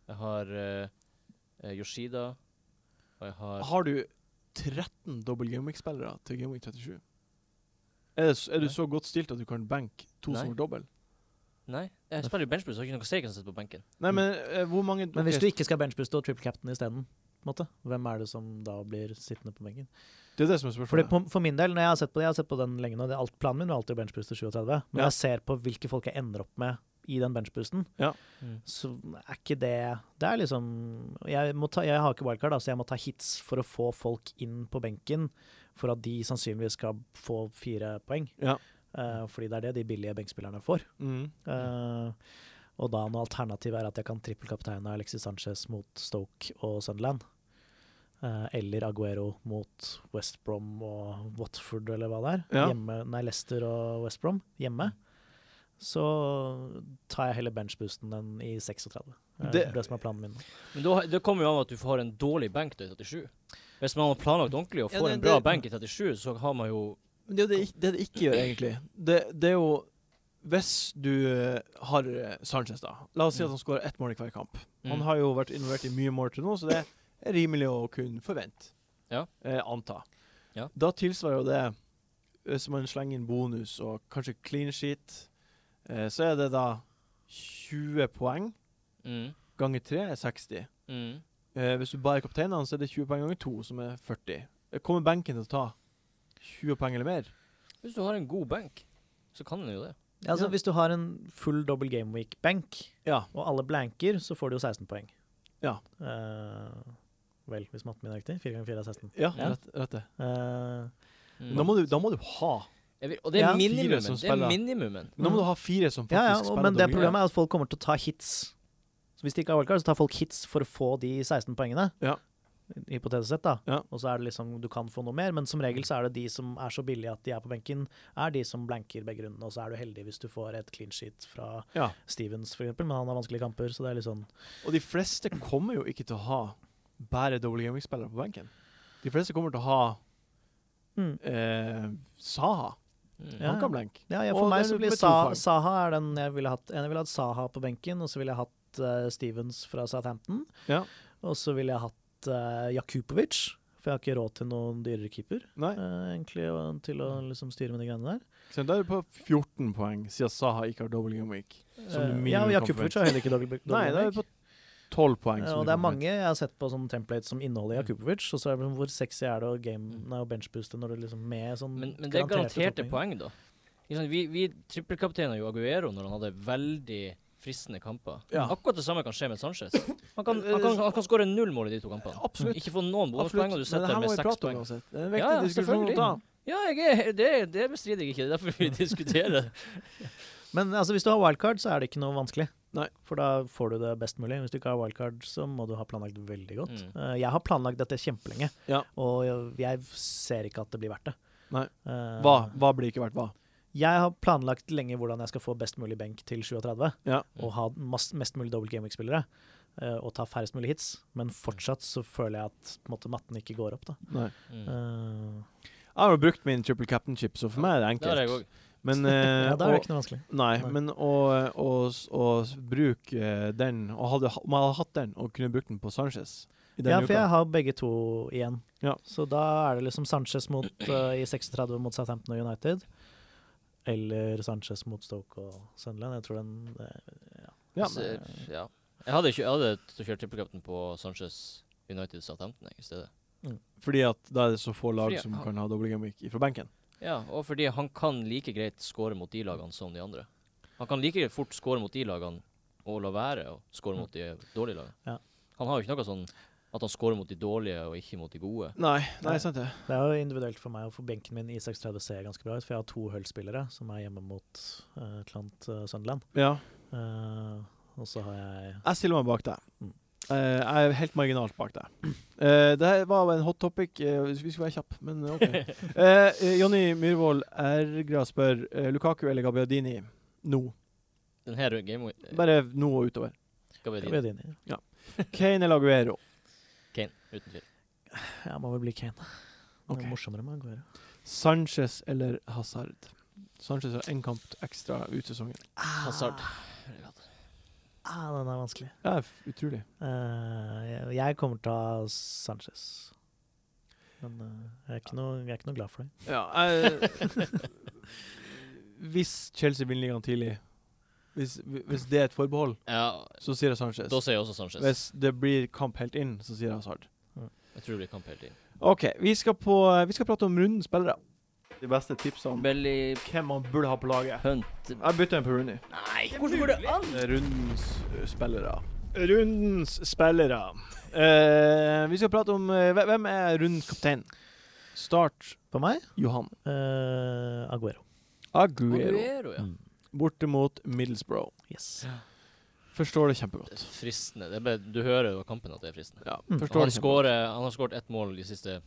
jeg har eh, eh, Yoshida, og jeg Ah. har Har du 13 dobbel Game Week-spillere til Game Week 37? Er, det, s- er du Nei. så godt stilt at du kan banke to Nei. som har dobbel? Nei, jeg spiller jo benchboost, så jeg har ikke noe Sagan sitt på benken. Nei, men eh, hvor mange Men hvis Ok, du ikke skal benchbooste og triple captain isteden, på en måte, hvem er det som da blir sittende på benken? Det er det som er Fordi spørsmålet. på, for min del, når jeg har sett på det, jeg har sett på den lenge nå, det er alt, planen min var alltid å benchbooste 37, Ja. men når jeg ser på hvilke folk jeg ender opp med i den benchboosten, så er ikke det Det er liksom Jeg, må ta, jeg har ikke wildcard, da, så jeg må ta hits for å få folk inn på benken for at de sannsynligvis skal få fire poeng. Ja. Eh, fordi det er det de billige benkspillerne får. Mm. Eh, og da når alternativet er at jeg kan trippelkapteine Alexis Sanchez mot Stoke og Sunderland. eh, eller Aguero mot West Brom og Watford, eller hva det er. Ja. Hjemme, nei, Leicester og West Brom hjemme. Så tar jeg heller benchboosten enn i 36. Det er Det- det som er planen min. nå. Men da, det kommer jo an at du får en dårlig benk da i 37. Hvis man har planlagt ordentlig og Ja, får det- en bra det- benk i 37, så har man jo Men det er jo det, ikk- det det ikke gjør, egentlig. Det, det er jo Hvis du eh, har eh, Sanchez, da. La oss si at han skårer ett mål i hver kamp. Han Mm. har jo vært involvert i mye mål til nå, så det er rimelig å kunne forvente. Ja. Eh, anta. Ja. Da tilsvarer jo det Hvis man slenger inn bonus og kanskje clean sheet, eh, så er det da 20 poeng Mm. ganger 3 er 60. Mm. Eh, hvis du bare er kapteinene, så er det 20 poeng ganger 2, som er 40. Eh, Kommer benken til å ta 20 poeng eller mer? Hvis du har en god benk, så kan den jo det. Ja, altså, Ja. Hvis du har en full double game week-benk, Ja. og alle blanker, så får du jo 16 poeng. Ja. Eh, vel, hvis matten min er riktig. 4 ganger 4 er 16. Ja, Ja. Rett, rett det. Eh, Mm. Da, må du, da må du ha Jeg vil, og det er Ja. Fire minimumen. som Det er spiller. minimumen. Men Da må du ha fire som faktisk ja, ja, og, spiller. men det dobbelt. problemet er at folk kommer til å ta hits. Så hvis de ikke har wildcard, så tar folk hits for å få de 16 poengene. Ja. Hypotetisk sett, da. Ja. Og så er det liksom, du kan få noe mer, men som regel så er det de som er så billige at de er på benken, er de som blanker begge rundene. Og så er du heldig hvis du får et clean sheet fra Ja. Stevens, f.eks., men han har vanskelige kamper, så det er litt sånn Og de fleste kommer jo ikke til å ha bare double gaming-spillere på benken. De fleste kommer til å ha mm. eh, Saha. Mm. Ja. Han kan blenke. Ja, ja, Og for meg det så er med blir to Sa poeng. Saha er den jeg ville hatt. Jeg ville hatt Saha på benken, og så ville jeg hatt eh, Stevens fra Southampton. Ja. Og så ville jeg hatt eh, Jakubovic, for jeg har ikke råd til noen dyrere keeper Nei, eh, egentlig, og, til å liksom styre med de greiene der. så da er du på 14 poeng, siden Saha ikke har double game week. Som du Eh, minimum ja, og kan Jakubovic har heller ikke dobbel dobbel Nei, da er benk. du på 12 poeng. Eh, som Og du kan det er forvente. mange jeg har sett på sånn templates som inneholder Mm. Jakubovic, og så er det liksom hvor sexy er det å game, nei, å benchbooste når du liksom med sånn Men, men det er garanterte garanterte toppninger. poeng, da. Ikke sant, Vi, vi trippelkapteina jo Aguero når han hadde veldig fristende kamper. Ja. Eh, Akkurat det samme kan skje med Sanchez. Han kan, han kan, han kan skåre null mål i de to kampene. Absolutt. Ikke få noen bonuspoeng, Men og du det sitter her med må vi seks prate om poeng. uansett. Det er en Ja, viktig ja, diskusjon å selvfølgelig. ta. Ja, jeg er, det, det bestrider jeg ikke. Det er derfor vi diskuterer. Men altså, hvis du har wildcard, så er det ikke noe vanskelig. Nei. For da får du det best mulig. Hvis du ikke har wildcard, så må du ha planlagt veldig godt. Mm. Eh, jeg har planlagt dette kjempelenge, Ja. og jeg- jeg ser ikke at det blir verdt det. Nei. Eh, Hva, hva blir ikke verdt hva? Jeg har planlagt lenge hvordan jeg skal få best mulig benk til 37, Ja. mm, og ha mass, mest mulig dobbelt gameweek-spillere. eh, og ta færrest mulig hits, men fortsatt så føler jeg at på en måte, matten ikke går opp. Da. Nei. Mm. Eh, Jeg har jo brukt min triple captain-chip, så for meg er det Der er jeg enkelt. òg. Men, eh, ja, da er og- det ikke noe vanskelig. Nei, Nei. men å, å, å, s- bruke eh, den og hadde, Om jeg hadde hatt den og kunne brukt den på Sanchez, i Ja, denne for jeg har begge to igjen. Ja. Så da er det liksom Sanchez mot, eh, i 36 mot Southampton og United. Eller Sanchez mot Stoke og Sunderland. Jeg tror den eh, Ja, Så, men, ja. Jeg hadde, ikke, jeg hadde t- kjørt trippelkapten på Sanchez United Southampton jeg, i stedet. fordi at da er det så få lag Fordi- som kan ha doble gameweek fra benken. Ja, og fordi han kan like greit score mot de lagene som de andre. Han kan like greit fort score mot de lagene og la være å score mot de dårlige lagene. Ja. Han har jo ikke noe sånn at han scorer mot de dårlige og ikke mot de gode. Nei, Nei. nei, sant det. Det er jo individuelt for meg å få benken min i 36 ser ganske bra ut, for jeg har to Hull-spillere som er hjemme mot eh, et eller annet eh, Sunderland. Ja. Eh, og så har jeg Jeg stiller meg bak deg. Mm. Eh, jeg er helt marginalt bak deg. Eh, det her var en hot topic. eh, vi skulle være kjappe, men OK. Eh, eh, Jonny Myhrvold Ergra spør eh, Lukaku eller Gabbiadini nå. Den her game eh, Bare nå og utover. skal vi din. Gavedini. Kane eller Aguero? Kane, uten tvil. Jeg må vel bli Kane. Det Ok. er morsommere med Aguero. Sanchez eller Hazard? Sanchez har én kamp ekstra ut sesongen. Hazard. Ah, den er vanskelig. Ja, f- utrolig. Eh, jeg- jeg kommer til å ta Sanchez. Men eh, jeg, er ikke noe, jeg er ikke noe glad for det. Ja, jeg Hvis Chelsea vinner ligaen tidlig, hvis, hvis det er et forbehold, Ja, så sier jeg Sanchez. da sier jeg også Sanchez. Hvis det blir kamp helt inn, så sier jeg Hazard. Jeg tror det blir kamp hele tiden. OK, vi skal, på, vi skal prate om rundens spillere. De beste tipsene om Belly hvem man burde ha på laget. Hunt Jeg bytter en på Rooney. Nei, hvordan går det an? Rundens eh, spillere. Rundens spillere. Eh, vi skal prate om eh, hve- Hvem er rundens kaptein? Start På meg Johan. eh, Aguero. Aguero. Aguero, Mm. ja. Borte mot Middlesbrough. Yes. Forstår det kjempegodt. Fristende. Det er bare, du hører jo av kampen at det er fristende. Ja, Mm. Og forstår Han, det kjempegodt. skårer, han har skåret ett mål de siste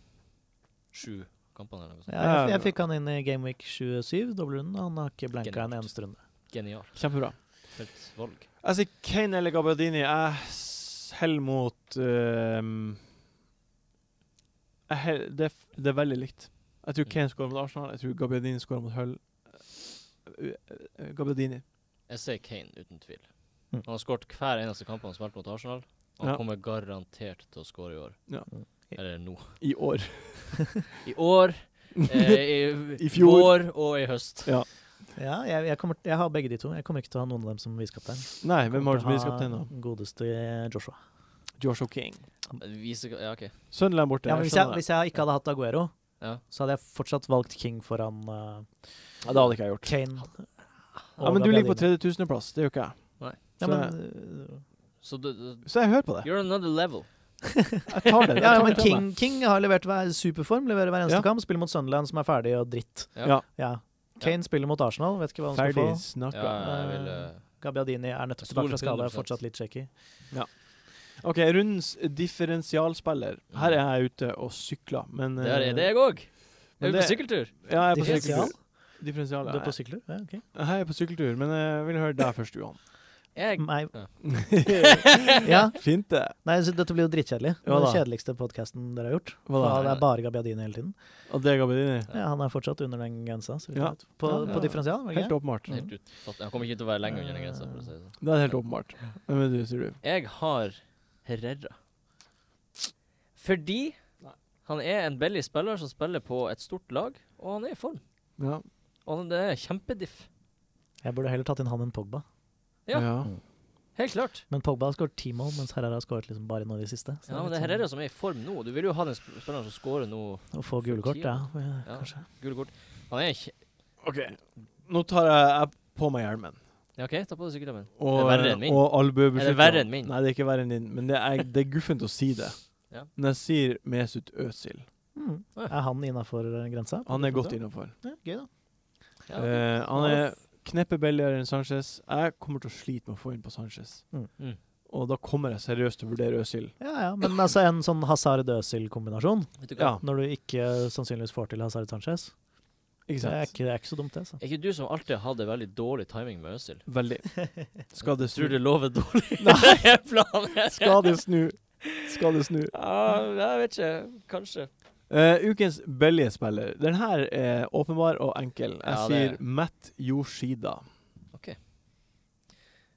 sju kampene. eller noe sånt. Ja, jeg, jeg fikk han inn i Gameweek 27, dobbeltrunden. og Han har ikke blanka en eneste runde. Genial. Kjempebra. Helt valg. Jeg sier Altså, Kane eller Gabardini. Jeg s- heller mot ehm, jeg hell, det, er f- det er veldig likt. Jeg Mm. tror Kane skårer mot Arsenal. Jeg tror Gabardini skårer mot Hull. Eh, eh, Gabardini. Jeg sier Kane, uten tvil. Mm. Han har skåret hver eneste kamp han har spilt mot Arsenal. Han Ja. kommer garantert til å skåre i år. Mm. Ja. Eller nå. I år. I år, eh, i, I fjor. vår og i høst. Ja, jeg, jeg, kommer, jeg har begge de to. Jeg kommer ikke til å ha noen av dem som visekaptein. Nei, hvem har du som Kommer til å ha visekaptein, da? Godeste Joshua. Joshua King. Vise, ja, ok. Sunderland borte. Ja, men jeg hvis, jeg, skjønner det. hvis jeg ikke hadde hatt Aguero, Ja. så hadde jeg fortsatt valgt King foran eh, ja, det hadde ikke jeg gjort. Kane. Ja, men du ligger på 3000.-plass. Det gjør ikke jeg. Ja, men, eh, Så du, du, Så jeg hører på det. you're another level. Jeg tar det. Jeg Ja, tar men det til meg. King, King har levert hver superform, leverer hver eneste Ja. kamp. Spiller mot Sunderland, som er ferdig og dritt. Ja. Ja. Ja. Kane spiller mot Arsenal, vet ikke hva han Ferdig skal få. Ja, snakka. jeg vil eh, Gabbiadini er nettopp Stol tilbake fra skade, 100%. er fortsatt litt shaky. OK, rundens differensialspiller. Her er jeg ute og sykler, men Der eh, er det jeg òg. men Er vi det- på sykkeltur? Ja, jeg er på Differensial? sykkeltur. Differensial, Du ja. er på sykler? Ja, ok. Jeg er på sykkeltur, men eh, jeg vil høre deg først, Johan. Jeg, Nei. Ja. ja. Fint, det. Nei, så dette blir jo drittkjedelig. Det Ja er den da. kjedeligste podkasten dere har gjort. Hva Ja, da? det er bare Gabbiadini hele tiden. Og det ga vi inn i. Ja, han er fortsatt under den grensa. Så vidt Ja. jeg vet. På, Ja, på ja. differensial? var det Helt ikke? åpenbart. helt utfatt- jeg kommer ikke til å være lenge under den grensa. For å si det. sånn. Det er helt åpenbart. Hvem er du, sier du? Jeg har Herrera. Fordi han er en billig spiller som spiller på et stort lag, og han er i form. Ja. Og han, det er kjempediff. Jeg burde heller tatt inn han enn Pogba. Ja. Helt klart. Men Pogba har skåret ti mål, mens Herrera har skåret liksom bare nå i det siste. Så Ja, men det er Herrera som er i form nå. Du vil jo ha den sp- spilleren som scorer nå, litt sånn- Å få gule kort, ja. Ja. Kanskje. gule kort. Han er ikke OK. Nå tar jeg, jeg på meg hjelmen. Ja, OK, ta på deg sykkelhjelmen. Og, Er det verre enn min? og albuebeskytteren. Er det verre enn min? Nei, det er ikke verre enn din. Men det er, det er guffent å si det. Ja. Men jeg sier Mesut Özil. Mm. Er han innafor eh, grensa? Han er godt innafor. Ja, gøy, da. Ja. Eh, han er kneppet billigere enn Sanchez. Jeg kommer til å slite med å få inn på Sanchez. Mm. Mm. Og da kommer jeg seriøst til å vurdere Øsil. Ja, ja. Men altså en sånn Hazard-Øsil-kombinasjon, Vet du hva? Ja, når du ikke sannsynligvis får til Hazard Sanchez, ikke det er sant? ikke, det er ikke så dumt, det. altså. Så. Er ikke du som alltid har hatt veldig dårlig timing med Øzil? Veldig. Skal det snu? Tror du lover dårlig? Nei, planen er Skal det snu? Skal det snu? Ja, jeg vet ikke. Kanskje. Eh, ukens billige spiller. Den her er åpenbar og enkel. Jeg Ja, sier det er- Matt Yoshida.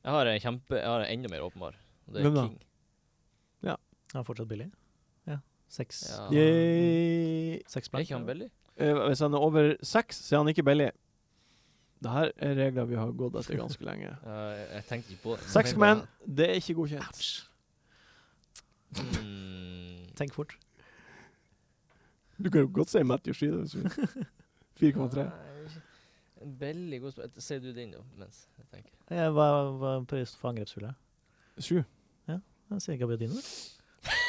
Jeg har en kjempe Jeg har en enda mer åpenbar. og Det er Hvem da? King. Ja. Det er fortsatt billig. Ja. Seks, Ja. Mm. Yay. seks Er blank. ikke han billig? Eh, hvis han er over seks, så er han ikke billig. Det her er regler vi har gått etter ganske lenge. Ja, jeg, jeg tenkte ikke på det. Seks menn, det er ikke godkjent. Mm. Tenk fort. Du kan jo godt si Matthew Sheeder. hvis du vil. 4,3. Nei, Veldig god spørsmål. Ser du din, da? Mens jeg tenker. Jeg var, var på lyst for angrepshullet. Sju. Jeg sier Gabbiadini.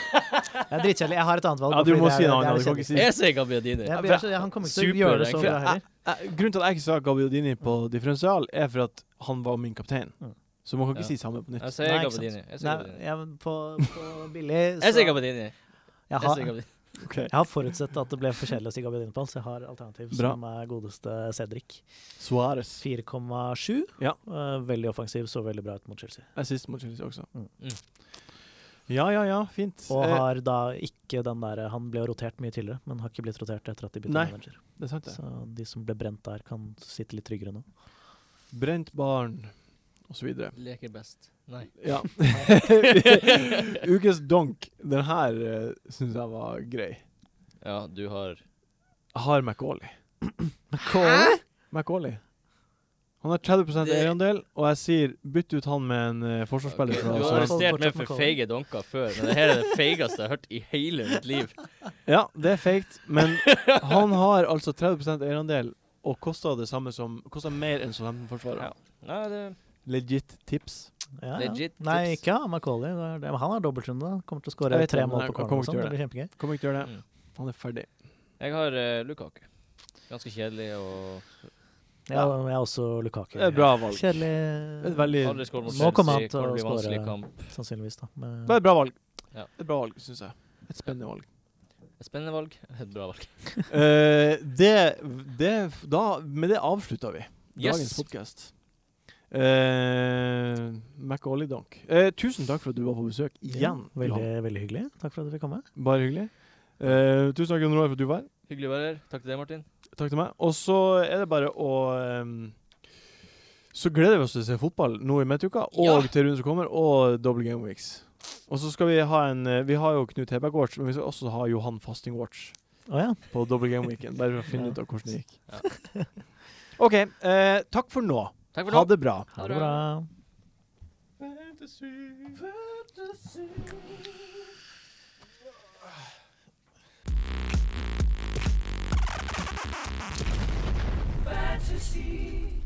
Jeg er dritkjedelig. Jeg har et annet valg. Ja, bare du fordi må det er- si det noe er annet. Du litt kan ikke si Jeg sier Gabbiadini. kjedelig. Jeg blir så- Han kommer ikke til å Super, gjøre det så egentlig. bra heller. Eh, Grunnen til at jeg ikke sa Gabbiadini på differensial, er for at han var min kaptein. Mm. Så man kan ikke Ja. si samme på nytt. Jeg Nei, sier ikke sant. Gabbiadini. Jeg sier Nei, Gabbiadini. ja, men på, på billig Jeg sier Gabbiadini. jeg, Jeg har, sier jeg Gabbiadini. Ok. har forutsett at det ble for kjedelig å si Gabbiadini på alt, så jeg har alternativ Bra. som er godeste Cedric. Suárez. 4,7. Ja. Eh, veldig offensiv, så veldig bra ut mot Chelsea. Assist mot Chelsea også. Mm. Mm. Ja, ja, ja. Fint. Og Eh, har da ikke den der eh, Han ble jo rotert mye tidligere, men har ikke blitt rotert etter at de bytta Nei. manager. det er sant, det. Så de som ble brent der, kan sitte litt tryggere nå. Brent barn, og så videre. Leker best. Nei. Ja. Ukens donk. Den her uh, syns jeg var grei. Ja, du har Jeg har McAuley. McAuley. Han har 30 Det- eierandel, og jeg sier bytt ut han med en eh, forsvarsspiller. Ok, fra Du har Southampton. Fortsatt arrestert meg for McCollum. feige donker før, men det her er det feigeste jeg har hørt i hele mitt liv. Ja, det er feigt, men han har altså 30 eierandel og koster det samme som Koster mer enn Southampton-forsvaret. Ja. Nei, det Legit tips. Ja, Legit ja. Nei, tips. ikke ha Macaulay. Det er- det- men Han har dobbeltrunde. da. Kommer til å Jeg skåre vet tre det, men mål jeg på corner. kommer og ikke sånn. til å Det blir kjempegøy. Kommer ikke til å gjøre det. mm. Han er ferdig. Jeg har eh, Lukaku. Ganske kjedelig og Ja, jeg er også Lukaku. Det er et bra valg. Et Kjedelig, veldig aldri skåret mot Nå kommer han Chelsea. til å Kommer til å bli vanskelig score. kamp. sannsynligvis. da. Men Det er et bra valg. Ja. Et bra valg, syns jeg. Et spennende valg. Et spennende valg. Et bra valg. Eh, det, det da, Med det avslutta vi dagens Yes. podkast. Uh, McAuley-donk. Eh, tusen takk for at du var på besøk igjen. Johan. Veldig, veldig hyggelig. Takk for at du fikk komme. Bare hyggelig. Eh, tusen takk Jon Roar, for at du var her. Hyggelig å være her. Takk til deg, Martin. Takk til meg. Og så er det bare å ehm, Så gleder vi oss til å se fotball nå i midtuka, og til runden som kommer, og double game weeks. Og så skal vi ha en eh, Vi har jo Knut Heberg Watch, men vi skal også ha Johan Fasting Watch Å ja. på double game weekend. Bare for å finne ut av hvordan det gikk. Ja. OK. Eh, takk for nå. Takk for nå. Ha det bra. Ha det bra. fantasy.